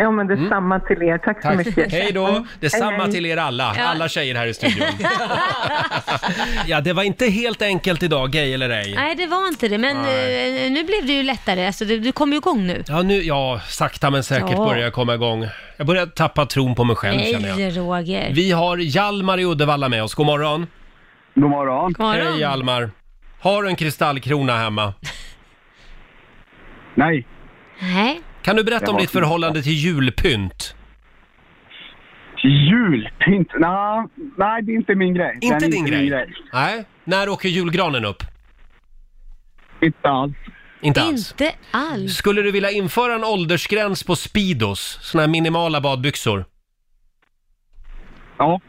Speaker 18: Ja, men detsamma till er. Tack så
Speaker 1: Mm. Tack.
Speaker 18: mycket.
Speaker 1: Hej då! Detsamma till er alla,
Speaker 18: Ja.
Speaker 1: alla tjejer här
Speaker 18: *laughs*
Speaker 1: i studion. Ja, det var inte helt enkelt idag, gay eller ej.
Speaker 2: Nej, det var inte det, men
Speaker 1: Nej.
Speaker 2: eh, nu blev det ju lättare. Alltså, du, du kom ju igång nu.
Speaker 1: Ja, nu, ja, sakta men säkert
Speaker 2: Ja.
Speaker 1: börjar jag komma igång. Jag börjar tappa tron på mig själv känner jag.
Speaker 2: Nej, Roger.
Speaker 1: Vi har Jalmar i Uddevalla med oss. God morgon.
Speaker 19: God morgon.
Speaker 2: God morgon.
Speaker 1: Hej Jalmar. Har du en kristallkrona hemma?
Speaker 19: Nej.
Speaker 2: Nej.
Speaker 1: Kan du berätta
Speaker 19: Jag
Speaker 1: om
Speaker 19: har
Speaker 1: ditt
Speaker 19: inte.
Speaker 1: förhållande till julpynt?
Speaker 19: Julpynt? Nej, nej, det är inte min grej.
Speaker 1: Inte
Speaker 19: Det är
Speaker 1: din grej?
Speaker 19: min
Speaker 1: Nej. När åker julgranen upp?
Speaker 19: Inte alls.
Speaker 1: Inte alls?
Speaker 2: Inte alls.
Speaker 1: Skulle du vilja införa en åldersgräns på Speedos? Såna här minimala badbyxor?
Speaker 19: Ja.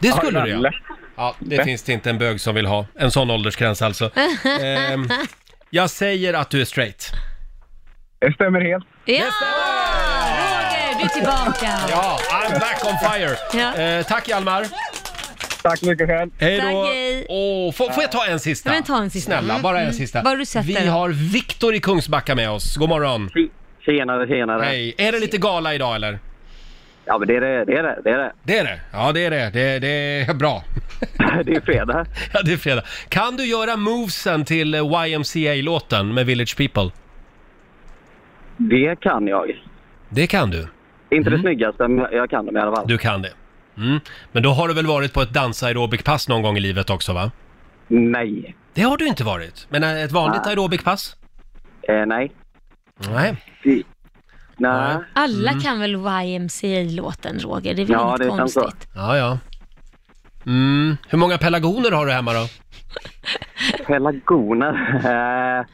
Speaker 1: Det
Speaker 19: Ja,
Speaker 1: skulle du ja.
Speaker 19: lätt.
Speaker 1: Ja, det finns det inte en bög som vill ha. En sån åldersgräns alltså.
Speaker 2: *laughs*
Speaker 1: Ehm, jag säger att du är straight.
Speaker 19: Det stämmer helt.
Speaker 2: Ja! Roger, du är tillbaka.
Speaker 1: Ja, I'm back on fire.
Speaker 2: Ja.
Speaker 1: Eh, tack Hjalmar.
Speaker 19: Tack mycket själv.
Speaker 1: Hej då.
Speaker 2: Tack, hej.
Speaker 1: Åh, får, får jag ta en sista?
Speaker 2: Ja, men ta en sista.
Speaker 1: Snälla,
Speaker 2: Mm,
Speaker 1: bara en
Speaker 2: mm.
Speaker 1: sista.
Speaker 2: Bara du sätter
Speaker 1: Vi
Speaker 2: den.
Speaker 1: har Viktor i Kungsbacka med oss. God morgon.
Speaker 20: Tjenare, tjenare.
Speaker 1: Hej. Är det lite gala idag eller?
Speaker 20: Ja, men det är det, det är det, det *laughs* är det.
Speaker 1: Det är det. Ja, det är det. Det, det är bra. *laughs*
Speaker 20: det är fredag.
Speaker 1: Ja, det är fredag. Kan du göra movesen till eh, YMCA-låten med Village People?
Speaker 20: Det kan jag.
Speaker 1: Det kan du.
Speaker 20: Inte
Speaker 1: Mm.
Speaker 20: det snyggaste, men jag kan dem i alla fall.
Speaker 1: Du kan det. Mm. Men då har du väl varit på ett dansaerobikpass någon gång i livet också va?
Speaker 20: Nej.
Speaker 1: Det har du inte varit. Men eh, ett vanligt
Speaker 20: Nej.
Speaker 1: aerobikpass?
Speaker 20: Eh, nej.
Speaker 1: Nej.
Speaker 20: Nej.
Speaker 2: Alla kan väl YMCA-låten, Roger? Det är väl
Speaker 20: Ja,
Speaker 2: inget
Speaker 20: det är sant så.
Speaker 2: konstigt?
Speaker 1: Ja, ja. Mm. Hur många pelargoner har du hemma då?
Speaker 20: Pelargoner. *laughs* Eh,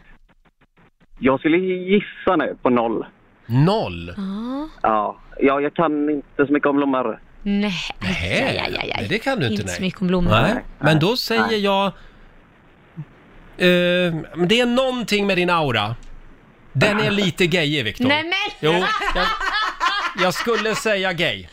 Speaker 20: jag skulle gissa nu på noll.
Speaker 1: Noll?
Speaker 2: Ja.
Speaker 20: Ja, ja jag kan inte så mycket om blommor.
Speaker 2: Nej.
Speaker 1: Nej,
Speaker 2: Aj, aj, aj, aj.
Speaker 1: det kan du inte.
Speaker 2: Inte
Speaker 1: nej.
Speaker 2: så mycket om blommor.
Speaker 1: Nej. Men då säger
Speaker 2: Mm. Nej.
Speaker 1: jag... eh, men det är någonting med din aura. Den är lite gayig, Viktor.
Speaker 2: Nej, men-
Speaker 1: Jo, jag, jag skulle säga gay.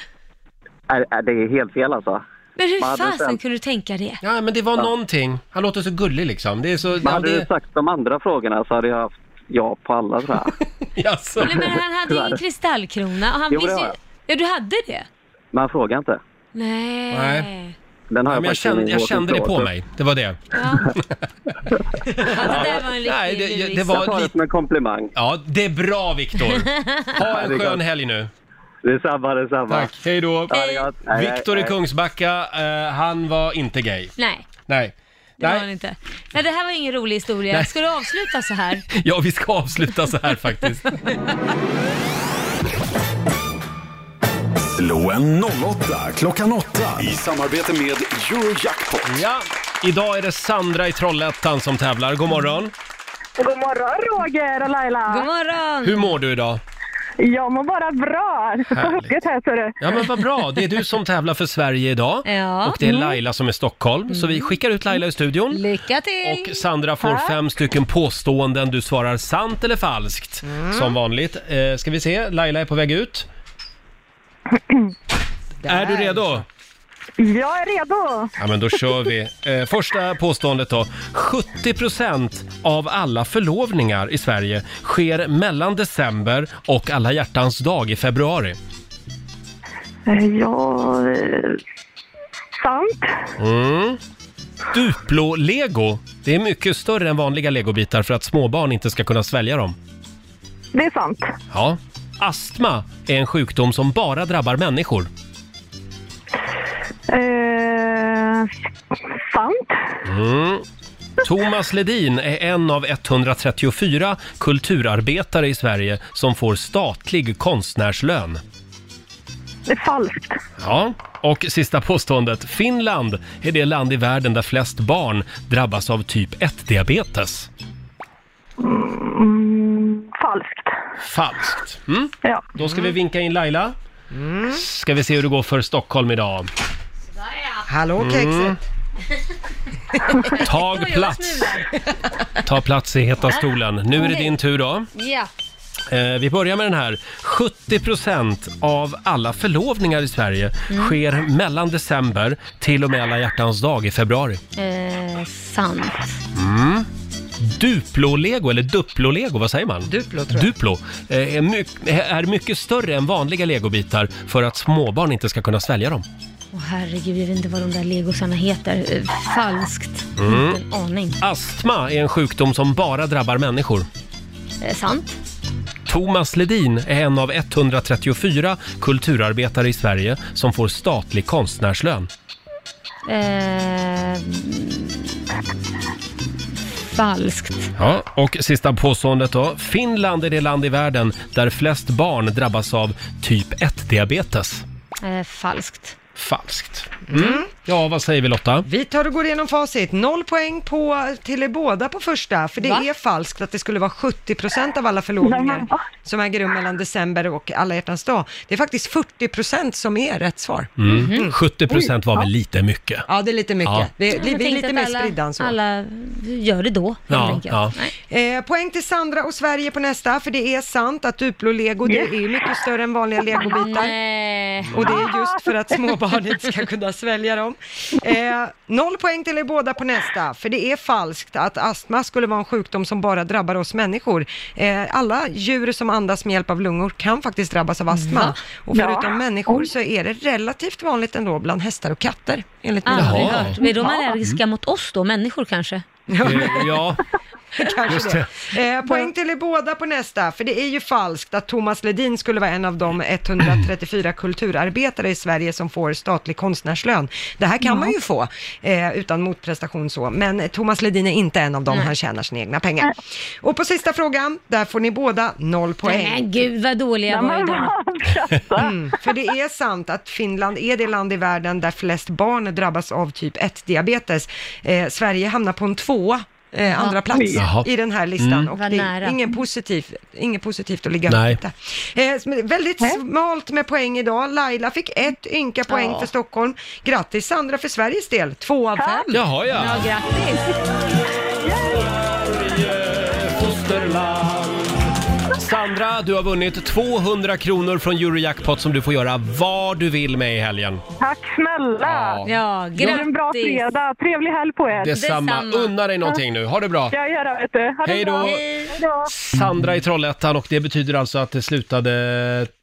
Speaker 20: Är, är det är helt fel alltså.
Speaker 2: Men hur
Speaker 20: Vad hade du
Speaker 2: fasen
Speaker 20: sänt?
Speaker 2: kunde du tänka det?
Speaker 1: Ja, men det var någonting. Han låter så gullig liksom. Det är så...
Speaker 20: Men
Speaker 1: ja,
Speaker 20: hade
Speaker 1: det...
Speaker 20: du sagt de andra frågorna så hade jag haft ja på alla tror jag.
Speaker 1: *laughs* Jaså?
Speaker 2: Nej, men
Speaker 20: *laughs*
Speaker 2: han hade ju en kristallkrona och han
Speaker 20: Jo, det
Speaker 2: visste
Speaker 20: har
Speaker 2: ju...
Speaker 20: jag.
Speaker 2: Ja, du hade det?
Speaker 20: Man frågar inte.
Speaker 2: Nej.
Speaker 1: Nej.
Speaker 20: Den har
Speaker 1: Ja, men jag
Speaker 20: faktiskt i min
Speaker 1: kände, jag kände det på
Speaker 20: hårkontroll.
Speaker 1: mig. Det var det.
Speaker 2: Ja, det där var en riktig
Speaker 1: Nej, det-
Speaker 2: luris.
Speaker 1: det var
Speaker 20: Jag tar det
Speaker 1: lite-
Speaker 20: som en komplimang.
Speaker 1: Ja, det är bra
Speaker 2: *laughs*
Speaker 1: Viktor. Ha
Speaker 20: Ja, det
Speaker 1: en
Speaker 20: är
Speaker 1: skön
Speaker 20: gott.
Speaker 1: helg nu.
Speaker 20: Detsamma, detsamma.
Speaker 1: Tack, hej då.
Speaker 20: Ha det gott. Hej, hej,
Speaker 1: Viktor i
Speaker 20: hej.
Speaker 1: Kungsbacka, eh, han var inte gay.
Speaker 2: Nej.
Speaker 1: Nej.
Speaker 2: det var
Speaker 1: Nej.
Speaker 2: han inte. Nej, det här var ingen rolig historia.
Speaker 1: Nej.
Speaker 2: Ska du avsluta
Speaker 20: *laughs*
Speaker 2: så här?
Speaker 1: Ja, vi ska avsluta så här faktiskt.
Speaker 4: Slå en 08 klockan 8 i samarbete med Eurojackpot.
Speaker 1: Ja, idag är det Sandra i Trollhättan som tävlar. God morgon.
Speaker 21: God morgon Roger och Laila! God
Speaker 2: morgon!
Speaker 1: Hur mår du idag?
Speaker 21: Jag mår bara bra. Du får
Speaker 1: Härligt.
Speaker 21: hugget här ser du.
Speaker 1: Ja, men vad bra. Det är du som tävlar för Sverige idag.
Speaker 21: Ja.
Speaker 1: Och det är
Speaker 21: Mm.
Speaker 1: Laila som är i Stockholm. Så vi skickar ut Laila i studion.
Speaker 2: Lycka till!
Speaker 1: Och Sandra får fem stycken påståenden. Du svarar sant eller falskt,
Speaker 21: Mm.
Speaker 1: som vanligt. Eh, ska vi se, Laila är på
Speaker 21: *clears throat*
Speaker 1: väg ut. Är du redo?
Speaker 21: Jag är redo.
Speaker 1: Ja, men då kör vi. Eh, första påståendet då. 70% av alla förlovningar i Sverige sker mellan december och alla hjärtans dag i februari.
Speaker 21: Eh, Ja... eh, Sant.
Speaker 1: Mm. Duplo-lego. Det är mycket större än vanliga legobitar för att småbarn inte ska kunna svälja dem.
Speaker 21: Det är sant.
Speaker 1: Ja. Astma är en sjukdom som bara drabbar människor.
Speaker 21: Eh, sant.
Speaker 1: Mm. Thomas Ledin är en av 134 kulturarbetare i Sverige som får statlig konstnärslön.
Speaker 21: Det är falskt.
Speaker 1: Ja, och sista påståendet. Finland är det land i världen där flest barn drabbas av typ 1-diabetes.
Speaker 21: Mm, falskt.
Speaker 1: Falskt. Mm?
Speaker 21: Ja.
Speaker 1: Då ska vi vinka in Laila. Ska vi se hur det går för Stockholm idag.
Speaker 3: *laughs* Hallå
Speaker 1: Mm.
Speaker 3: kexet.
Speaker 1: Tag plats. *laughs* Ta plats i heta stolen. Nu är det
Speaker 2: Okej.
Speaker 1: din tur då.
Speaker 2: Ja.
Speaker 1: Eh, vi börjar med den här. 70% av alla förlovningar i Sverige
Speaker 2: Mm.
Speaker 1: sker mellan december till och med alla hjärtans dag i februari.
Speaker 2: Eh, sant.
Speaker 1: Mm. Duplo-lego, eller Duplo-lego, vad säger man?
Speaker 3: Duplo,
Speaker 1: tror jag. Duplo eh, är, my- är mycket större än vanliga legobitar för att småbarn inte ska kunna svälja dem.
Speaker 2: Åh herregud, jag vet inte vad de där legosarna heter. Eh, Falskt.
Speaker 1: Mm.
Speaker 2: En aning.
Speaker 1: Astma är en sjukdom som bara drabbar människor.
Speaker 2: Eh, sant.
Speaker 1: Thomas Ledin är en av 134 kulturarbetare i Sverige som får statlig konstnärslön.
Speaker 2: Eh, mm, falskt.
Speaker 1: Ja, och sista påståendet då. Finland är det land i världen där flest barn drabbas av typ 1-diabetes.
Speaker 2: Eh, falskt.
Speaker 1: Falskt. Mm. Ja, vad säger vi Lotta?
Speaker 3: Vi tar och går igenom facit. Noll poäng på, till er båda på första, för det
Speaker 2: Va?
Speaker 3: är falskt att det skulle vara 70% av alla förlovningar som äger rum mellan december och alla hjärtans dag. Det är faktiskt 40% som är rätt svar.
Speaker 1: Mm. 70 procent var väl lite mycket?
Speaker 3: Ja, det är lite mycket.
Speaker 1: Ja.
Speaker 3: Det är,
Speaker 2: Jag
Speaker 3: vi är
Speaker 2: tänkte
Speaker 3: lite
Speaker 2: att
Speaker 3: mer
Speaker 2: alla-
Speaker 3: spridda än så.
Speaker 2: Alla gör det då, helt
Speaker 1: Ja,
Speaker 2: enkelt.
Speaker 1: ja.
Speaker 3: Eh, poäng till Sandra och Sverige på nästa, för det är sant att Duplo-lego, det är ju mycket större än vanliga legobitar. Och det
Speaker 2: Ah!
Speaker 3: är just för att småbarn inte ska kunna svälja dem. Eh, noll poäng till er båda på nästa, för det är falskt att astma skulle vara en sjukdom som bara drabbar oss människor. Eh, alla djur som andas med hjälp av lungor kan faktiskt drabbas av astma.
Speaker 2: Va?
Speaker 3: Och förutom
Speaker 2: Ja.
Speaker 3: människor så är det relativt vanligt ändå bland hästar och katter, enligt mina
Speaker 2: Aldrig hört. Mm. Är de allergiska mot oss då, människor kanske?
Speaker 1: Eh, Ja, Just
Speaker 3: *laughs* Kanske det. Eh, poäng till er båda på nästa, för det är ju falskt att Thomas Ledin skulle vara en av de 134 kulturarbetare i Sverige som får statlig konstnärslön. Det här kan man ju få eh, utan motprestation så, men Thomas Ledin är inte en av dem, han tjänar sina egna pengar. Och på sista frågan, där får ni båda noll poäng.
Speaker 2: Nej, men gud vad dåliga var idag.
Speaker 3: Mm, för det är sant att Finland är det land i världen där flest barn drabbas av typ 1-diabetes. Eh, Sverige hamnar på en tvåa.
Speaker 2: Ja.
Speaker 3: Eh, andra plats
Speaker 1: Jaha.
Speaker 3: i den här listan
Speaker 1: Mm.
Speaker 3: och
Speaker 2: Vad
Speaker 3: det är
Speaker 2: nära.
Speaker 3: ingen positiv, inget positivt att ligga
Speaker 1: Nej.
Speaker 3: efter. Eh, som är väldigt smalt med poäng idag. Laila fick ett ynka poäng
Speaker 2: Ja.
Speaker 3: för Stockholm. Grattis Sandra för Sveriges del, två av fem.
Speaker 1: Jaha, ja. Ja,
Speaker 2: grattis.
Speaker 1: Sandra, du har vunnit 200 kronor från Eurojackpot som du får göra vad du vill med i helgen.
Speaker 21: Tack snälla!
Speaker 2: Ja,
Speaker 21: grattis! en bra
Speaker 2: grattis.
Speaker 21: fredag. Trevlig helg på er.
Speaker 1: Detsamma. Unna dig någonting nu. Ha det bra.
Speaker 21: Jag gör det, vet du. Ha det
Speaker 1: Hej då.
Speaker 21: bra.
Speaker 1: Hej.
Speaker 21: då.
Speaker 1: Sandra i Trollhättan och det betyder alltså att det slutade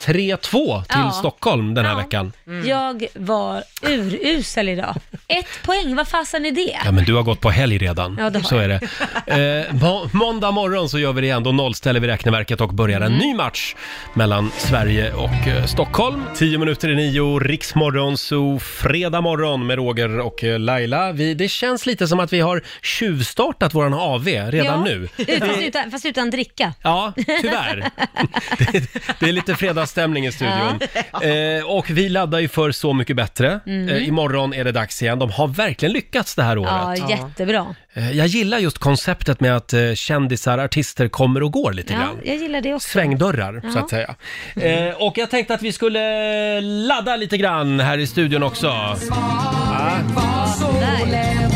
Speaker 1: 3-2 till
Speaker 2: Ja.
Speaker 1: Stockholm den här veckan.
Speaker 2: Mm. Jag var urusel idag. Ett poäng, vad fasen är det?
Speaker 1: Ja, men du har gått på helg redan.
Speaker 2: Ja, det har
Speaker 1: så är
Speaker 2: jag.
Speaker 1: det. Eh, må- måndag morgon så gör vi det igen. Då nollställer vi räkneverket och börjar
Speaker 2: Mm.
Speaker 1: en ny match mellan Sverige och eh, Stockholm. 10 minuter i nio, Riksmorgon, så fredag morgon med Roger och eh, Laila. Vi, det känns lite som att vi har tjuvstartat våran AV redan
Speaker 2: ja.
Speaker 1: nu.
Speaker 2: *laughs* Ut- Fast utan, fast utan dricka.
Speaker 1: Ja, tyvärr. *laughs* Det är lite fredagsstämning i studion. Eh, och vi laddar ju för Så mycket bättre.
Speaker 2: Mm.
Speaker 1: Eh, imorgon är det dags igen. De har verkligen lyckats det här året.
Speaker 2: Ja, jättebra.
Speaker 1: Eh, Jag gillar just konceptet med att eh, kändisar, artister kommer och går lite
Speaker 2: Ja,
Speaker 1: grann.
Speaker 2: jag gillar det också.
Speaker 1: Svängdörrar, så
Speaker 2: Ja.
Speaker 1: att säga. Eh, och jag tänkte att vi skulle ladda lite grann här i studion också. Ja.
Speaker 5: Så lätt.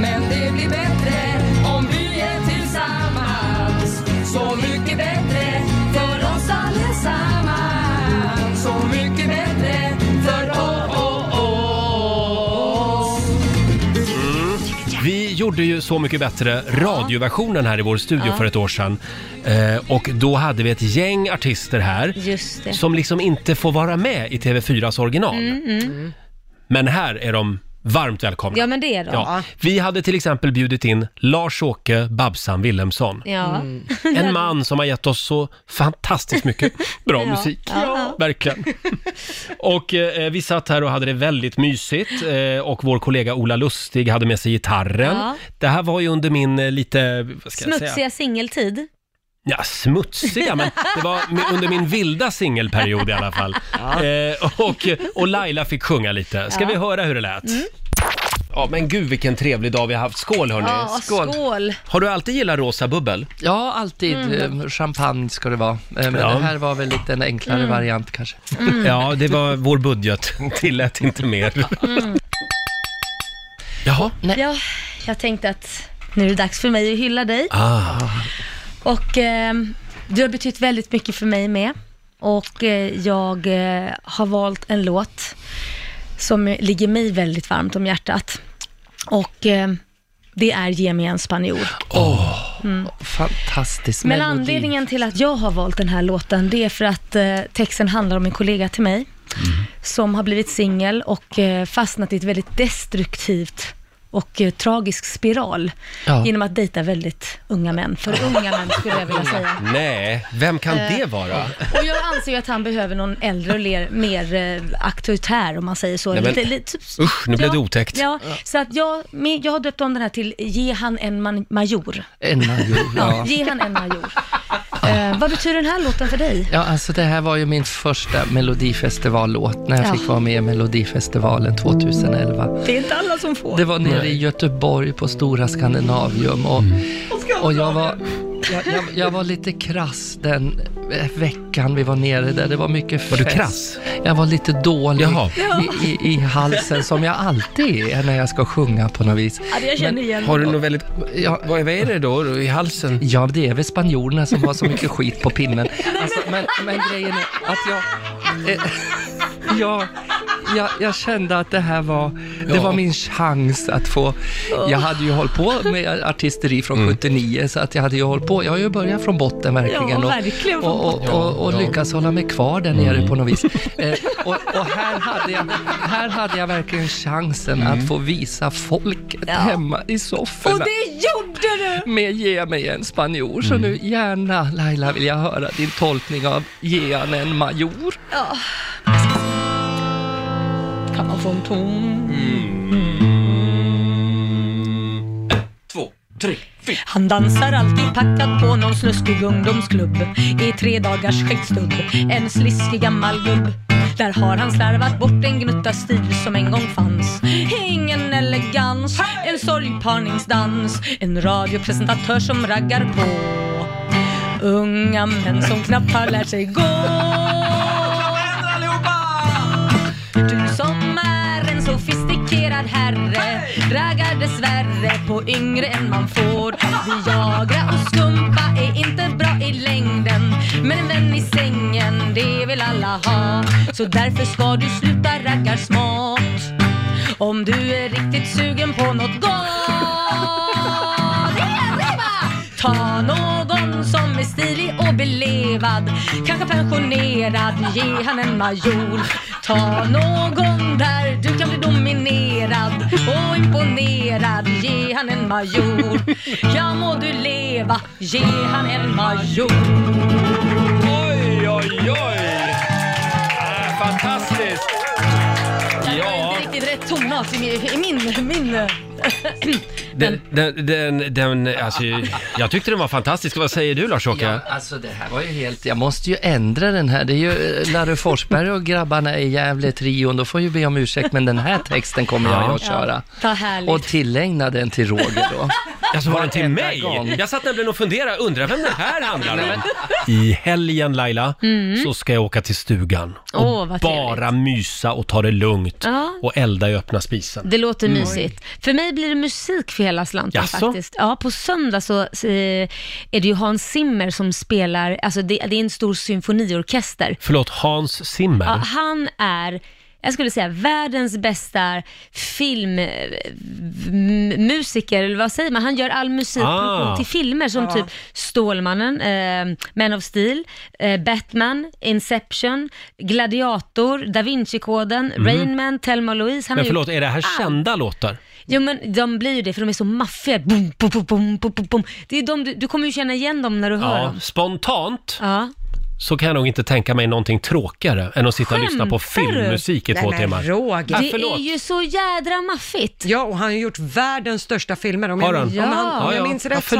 Speaker 5: Men det blir bättre om vi är tillsammans. Så mycket bättre för oss allesammans. Så mycket bättre för oss.
Speaker 1: Mm. Vi gjorde ju Så mycket bättre radioversionen här i vår studio
Speaker 2: Ja.
Speaker 1: för ett år sedan. Eh, och då hade vi ett gäng artister här
Speaker 2: Just det.
Speaker 1: som liksom inte får vara med i TV4s original.
Speaker 2: Mm, mm.
Speaker 1: Men här är de varmt välkomna.
Speaker 2: Ja, men det är de.
Speaker 1: Ja. Vi hade till exempel bjudit in Lars-Åke Babsan Willemsson.
Speaker 2: Ja.
Speaker 1: En man som har gett oss så fantastiskt mycket bra
Speaker 2: Mm. *laughs* Ja.
Speaker 1: musik.
Speaker 2: Ja. Ja. *laughs*
Speaker 1: Verkligen. Och eh, vi satt här och hade det väldigt mysigt eh, och vår kollega Ola Lustig hade med sig gitarren.
Speaker 2: Ja.
Speaker 1: Det här var ju under min eh, lite, vad ska jag säga?
Speaker 2: Smutsiga singeltid.
Speaker 1: Ja, smutsiga, men det var mi- under min vilda singelperiod i alla fall. Eh, och, och Laila fick sjunga lite. Ska
Speaker 2: Ja.
Speaker 1: vi höra hur det lät?
Speaker 2: Mm.
Speaker 1: Ja, men gud vilken trevlig dag vi har haft. Eh, Skål hörni!
Speaker 2: Ja, skål.
Speaker 1: Har du alltid gillat rosa bubbel?
Speaker 8: Ja, alltid.
Speaker 2: Mm.
Speaker 8: Eh, Champagne ska det vara. Eh, Men
Speaker 1: Ja.
Speaker 8: det här var väl lite en enklare
Speaker 1: Mm.
Speaker 8: variant kanske.
Speaker 1: Ja, det var vår budget. *laughs* Tillät inte mer. Jaha.
Speaker 2: Ja, jag tänkte att nu är det dags för mig att hylla dig.
Speaker 1: Ah.
Speaker 2: Och eh, du har betytt väldigt mycket för mig med. Och eh, jag eh, har valt en låt som ligger mig väldigt varmt om hjärtat. Och eh, det är Ge mig en spanjor. Mm.
Speaker 8: Fantastisk
Speaker 2: Men
Speaker 8: melodi.
Speaker 2: anledningen till att jag har valt den här låten, det är för att eh, texten handlar om en kollega till mig
Speaker 1: Mm.
Speaker 2: som har blivit singel och eh, fastnat i ett väldigt destruktivt och eh, tragisk spiral
Speaker 1: Ja.
Speaker 2: genom att dejta väldigt unga män. För unga män skulle jag vilja säga.
Speaker 1: Nej, vem kan
Speaker 2: Eh,
Speaker 1: det vara?
Speaker 2: Och jag anser ju att han behöver någon äldre och ler, mer eh, auktoritär om man säger så.
Speaker 1: Nej, men- Usch, nu blev det otäckt.
Speaker 2: Ja, så att jag, men jag har döpt om den här till Ge han en man, major.
Speaker 8: En major,
Speaker 2: Ja,
Speaker 8: ja.
Speaker 2: ge han en major. Eh, vad betyder den här låten för dig?
Speaker 8: Ja, alltså det här var ju min första Melodifestivallåt när jag
Speaker 2: Ja.
Speaker 8: fick vara med i Melodifestivalen 2011.
Speaker 2: Det är inte alla som får.
Speaker 8: Det var nere i Göteborg på Stora Skandinavium och, och jag, var, jag, jag, jag var lite krass den eh, veckan vi var nere där. Det var mycket fest.
Speaker 1: Var du krass?
Speaker 8: Jag var lite dålig
Speaker 1: Jaha.
Speaker 8: i, i, i halsen som jag alltid är när jag ska sjunga på något vis.
Speaker 2: Ja, det jag känner igen.
Speaker 8: Har du något väldigt... Ja, vad, är det då i halsen? Ja, det är väl spanjorerna som har så mycket skit på pinnen. Alltså, men, men grejen är att jag... Eh, jag, jag, jag kände att det här var, det var min chans att få... Jag hade ju hållit på med artisteri från 79, så att jag hade ju hållit på. Jag har ju börjat från botten verkligen. Ja, och, verkligen från och, och, botten. och, och, Ja. lyckas hålla mig kvar där nere på något vis. Eh, och och här, hade jag, här hade jag verkligen chansen att få visa folket hemma i sofforna.
Speaker 5: Och det gjorde
Speaker 8: du! Med Ge mig en spanjor. Så nu gärna, Laila, vill jag höra din tolkning av Ge han en major.
Speaker 2: Ja.
Speaker 8: Kan man få en ton?
Speaker 5: Två, tre, fyra.
Speaker 2: Han dansar alltid packad på någon snuskig ungdomsklubb I tre dagars skäggstubb, en sliskig gammal gubb Där har han slarvat bort en gnutta stil som en gång fanns Ingen elegans, en sorgparningsdans En radiopresentatör som raggar på Unga män som knappt har lärt sig gå du som är en sofistikerad herre raggar dessvärre på yngre än man får. Viagra och skumpa är inte bra i längden men en vän i sängen, det vill alla ha. Så därför ska du sluta ragga smart om du är riktigt sugen på något gott. Det är det, va? Ta någon som är stilig och belevad Kanske pensionerad, ge han en major Ta någon där du kan bli dominerad och imponerad, ge han en major Ja må du leva, ge han en major
Speaker 1: Oj, oj, oj! Äh, fantastiskt! Ja,
Speaker 2: Inte riktigt rätt tonart i min... I min, min
Speaker 1: den, den, den, den, alltså, jag tyckte den var fantastisk. Vad säger du Lars-Åke?
Speaker 8: Ja, alltså det här var ju helt... Jag måste ju ändra den här. Det är ju eh, Larry Forsberg och grabbarna i Gävle-trion. Då får jag ju be om ursäkt, men den här texten kommer jag att köra.
Speaker 2: Ja, ta härligt.
Speaker 8: Och tillägna den till Roger då.
Speaker 1: Alltså var den till
Speaker 8: Varenda
Speaker 1: mig?
Speaker 8: gång.
Speaker 1: Jag satt nämligen och funderade, undrar vem den här handlar
Speaker 8: Nej,
Speaker 1: om? I helgen Laila,
Speaker 2: Mm.
Speaker 1: så ska jag åka till stugan och
Speaker 2: Åh, vad
Speaker 1: bara mysa och ta det lugnt
Speaker 2: Ja.
Speaker 1: och elda i öppna spisen.
Speaker 2: Det låter
Speaker 1: Mm.
Speaker 2: mysigt. För mig blir det musik för hela slanten
Speaker 1: Jaså?
Speaker 2: faktiskt. Ja, på söndag så eh, är det ju Hans Zimmer som spelar, alltså det, det är en stor symfoniorkester.
Speaker 1: Förlåt, Hans Zimmer?
Speaker 2: Ja, han är, jag skulle säga världens bästa filmmusiker, eller vad säger man? Han gör all musik
Speaker 10: Ah.
Speaker 2: till filmer som
Speaker 10: Ja.
Speaker 2: typ Stålmannen, eh, Man of Steel, eh, Batman, Inception, Gladiator, Da Vinci-koden,
Speaker 1: Mm.
Speaker 2: Rain Man, Thelma och Louise. Han
Speaker 1: Men
Speaker 2: har
Speaker 1: förlåt,
Speaker 2: gjort
Speaker 1: är det här
Speaker 2: allt.
Speaker 1: kända låtar?
Speaker 2: Jo men de blir ju det för de är så maffiga. Boom, boom, boom, boom, boom, boom, boom. Det är de, du, du kommer ju känna igen dem när du hör
Speaker 1: Ja,
Speaker 2: dem.
Speaker 1: spontant
Speaker 2: Ja.
Speaker 1: så kan jag nog inte tänka mig någonting tråkigare än att sitta och lyssna på
Speaker 2: Skämtar du?
Speaker 1: filmmusik i två timmar.
Speaker 3: Roger.
Speaker 2: Det är ju så jädra maffigt.
Speaker 3: Ja, och han har ju gjort världens största filmer. Om
Speaker 1: Har
Speaker 3: jag,
Speaker 1: han?
Speaker 3: minns- om
Speaker 1: Ja.
Speaker 3: han, om
Speaker 1: Ja,
Speaker 3: jag
Speaker 1: ja.
Speaker 3: minns
Speaker 1: Ja,
Speaker 3: rätt så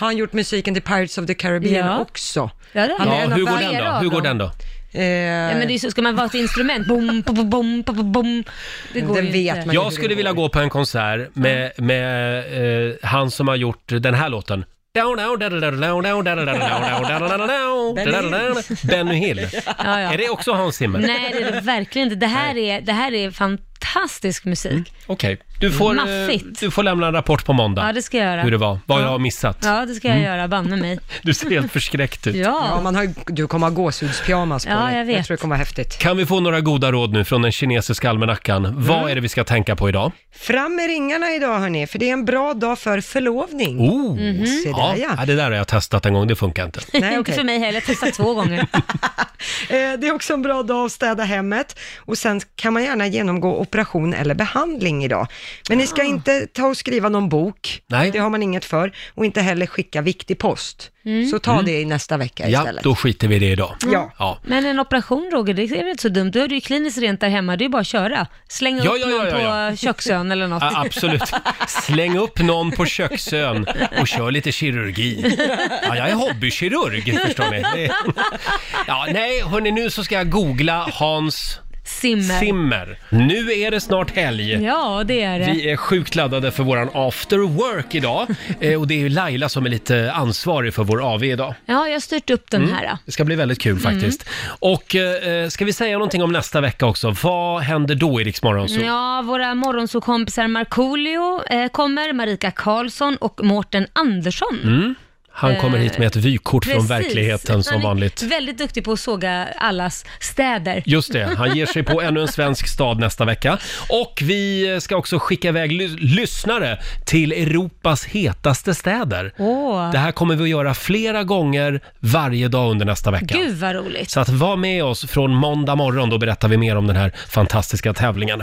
Speaker 3: har han gjort musiken till Pirates of the Caribbean
Speaker 2: Ja.
Speaker 3: också.
Speaker 2: Ja, det har
Speaker 3: han
Speaker 1: Ja,
Speaker 3: är en av
Speaker 1: hur går den
Speaker 3: världens-
Speaker 1: då? Hur går den då?
Speaker 3: Eh,
Speaker 2: Ja, men det är ju så, ska man vara ett instrument? Boom, boom, boom, boom, boom, boom. Det går
Speaker 3: Den
Speaker 2: ju
Speaker 3: vet
Speaker 2: inte.
Speaker 1: Jag skulle vilja gå på en konsert med, med eh, han som har gjort den här låten. Benny Hill.
Speaker 2: Ja, ja.
Speaker 1: Är det också Hans Zimmer?
Speaker 2: Nej, det är det verkligen inte. Det här är, det här är fantastisk musik.
Speaker 1: Mm. Okej, du, får, eh,
Speaker 2: Maffigt.
Speaker 1: du får lämna en rapport på måndag.
Speaker 2: Ja, det ska jag göra.
Speaker 1: Hur det var, vad jag har missat.
Speaker 2: Ja, det ska jag
Speaker 1: Mm.
Speaker 2: göra, banne mig.
Speaker 1: Du ser helt förskräckt ut.
Speaker 2: *laughs* Ja.
Speaker 3: man har, ju- du kommer ha gåshudspyjamas på
Speaker 2: Ja,
Speaker 3: dig.
Speaker 2: jag vet.
Speaker 3: tror det kommer vara häftigt.
Speaker 1: Kan vi få några goda råd nu från den kinesiska almanackan?
Speaker 2: Mm.
Speaker 1: Vad är det vi ska tänka på idag?
Speaker 3: Fram med ringarna idag hörni, för det är en bra dag för förlovning.
Speaker 2: *laughs*
Speaker 1: Oh,
Speaker 2: Mhm.
Speaker 3: Se där,
Speaker 1: ja.
Speaker 3: ja.
Speaker 1: ja, det där har jag testat en gång, det funkar inte.
Speaker 2: Inte för mig heller, jag testade två gånger.
Speaker 3: Eh, Det är också en bra dag att städa hemmet och sen kan man gärna genomgå operation eller behandling idag. Men ni
Speaker 2: Ah.
Speaker 3: ska inte ta och skriva någon bok,
Speaker 1: Nej.
Speaker 3: det har man inget för, och inte heller skicka viktig post. Så ta
Speaker 1: Mm.
Speaker 3: det i nästa vecka
Speaker 1: Ja,
Speaker 3: istället.
Speaker 1: då skiter vi i det idag.
Speaker 3: Ja.
Speaker 2: Men en operation Roger, det är väl inte så dumt? Du har du ju kliniskt rent där hemma, det är ju bara att köra. Slänga
Speaker 1: Ja,
Speaker 2: upp
Speaker 1: ja, ja, ja,
Speaker 2: någon
Speaker 1: ja. *laughs* Ah,
Speaker 2: på köksön eller något.
Speaker 1: Ja, absolut. Släng upp någon på köksön och kör lite kirurgi. Ja, jag är hobbykirurg, förstår ni. Det- Ja, nej, hörni, nu så ska jag googla Hans
Speaker 2: Simmer.
Speaker 1: Zimmer. Nu är det snart helg.
Speaker 2: Ja, det är det.
Speaker 1: Vi är sjukt laddade för våran after work idag. Eh, Och det är ju Laila som är lite ansvarig för vår AV idag.
Speaker 2: Ja, jag har styrt upp den
Speaker 1: Mm.
Speaker 2: här.
Speaker 1: Det ska bli väldigt
Speaker 2: Mm.
Speaker 1: kul faktiskt. Och eh, ska vi säga någonting om nästa vecka också? Vad händer då i Rix Morgon Zoo?
Speaker 2: Ja, våra morgonsåkompisar Markoolio eh, kommer, Marika Karlsson och Mårten Andersson.
Speaker 1: Mm. Han kommer
Speaker 2: Eh,
Speaker 1: hit med ett vykort från
Speaker 2: Precis.
Speaker 1: verkligheten som
Speaker 2: han är
Speaker 1: vanligt.
Speaker 2: väldigt duktig på att såga allas städer.
Speaker 1: Just det, han ger sig på ännu en svensk stad nästa vecka. Och vi ska också skicka iväg ly- lyssnare till Europas hetaste städer.
Speaker 2: Åh,
Speaker 1: Det här kommer vi att göra flera gånger varje dag under nästa vecka.
Speaker 2: gud vad roligt.
Speaker 1: Så att var med oss från måndag morgon, då berättar vi mer om den här fantastiska tävlingen.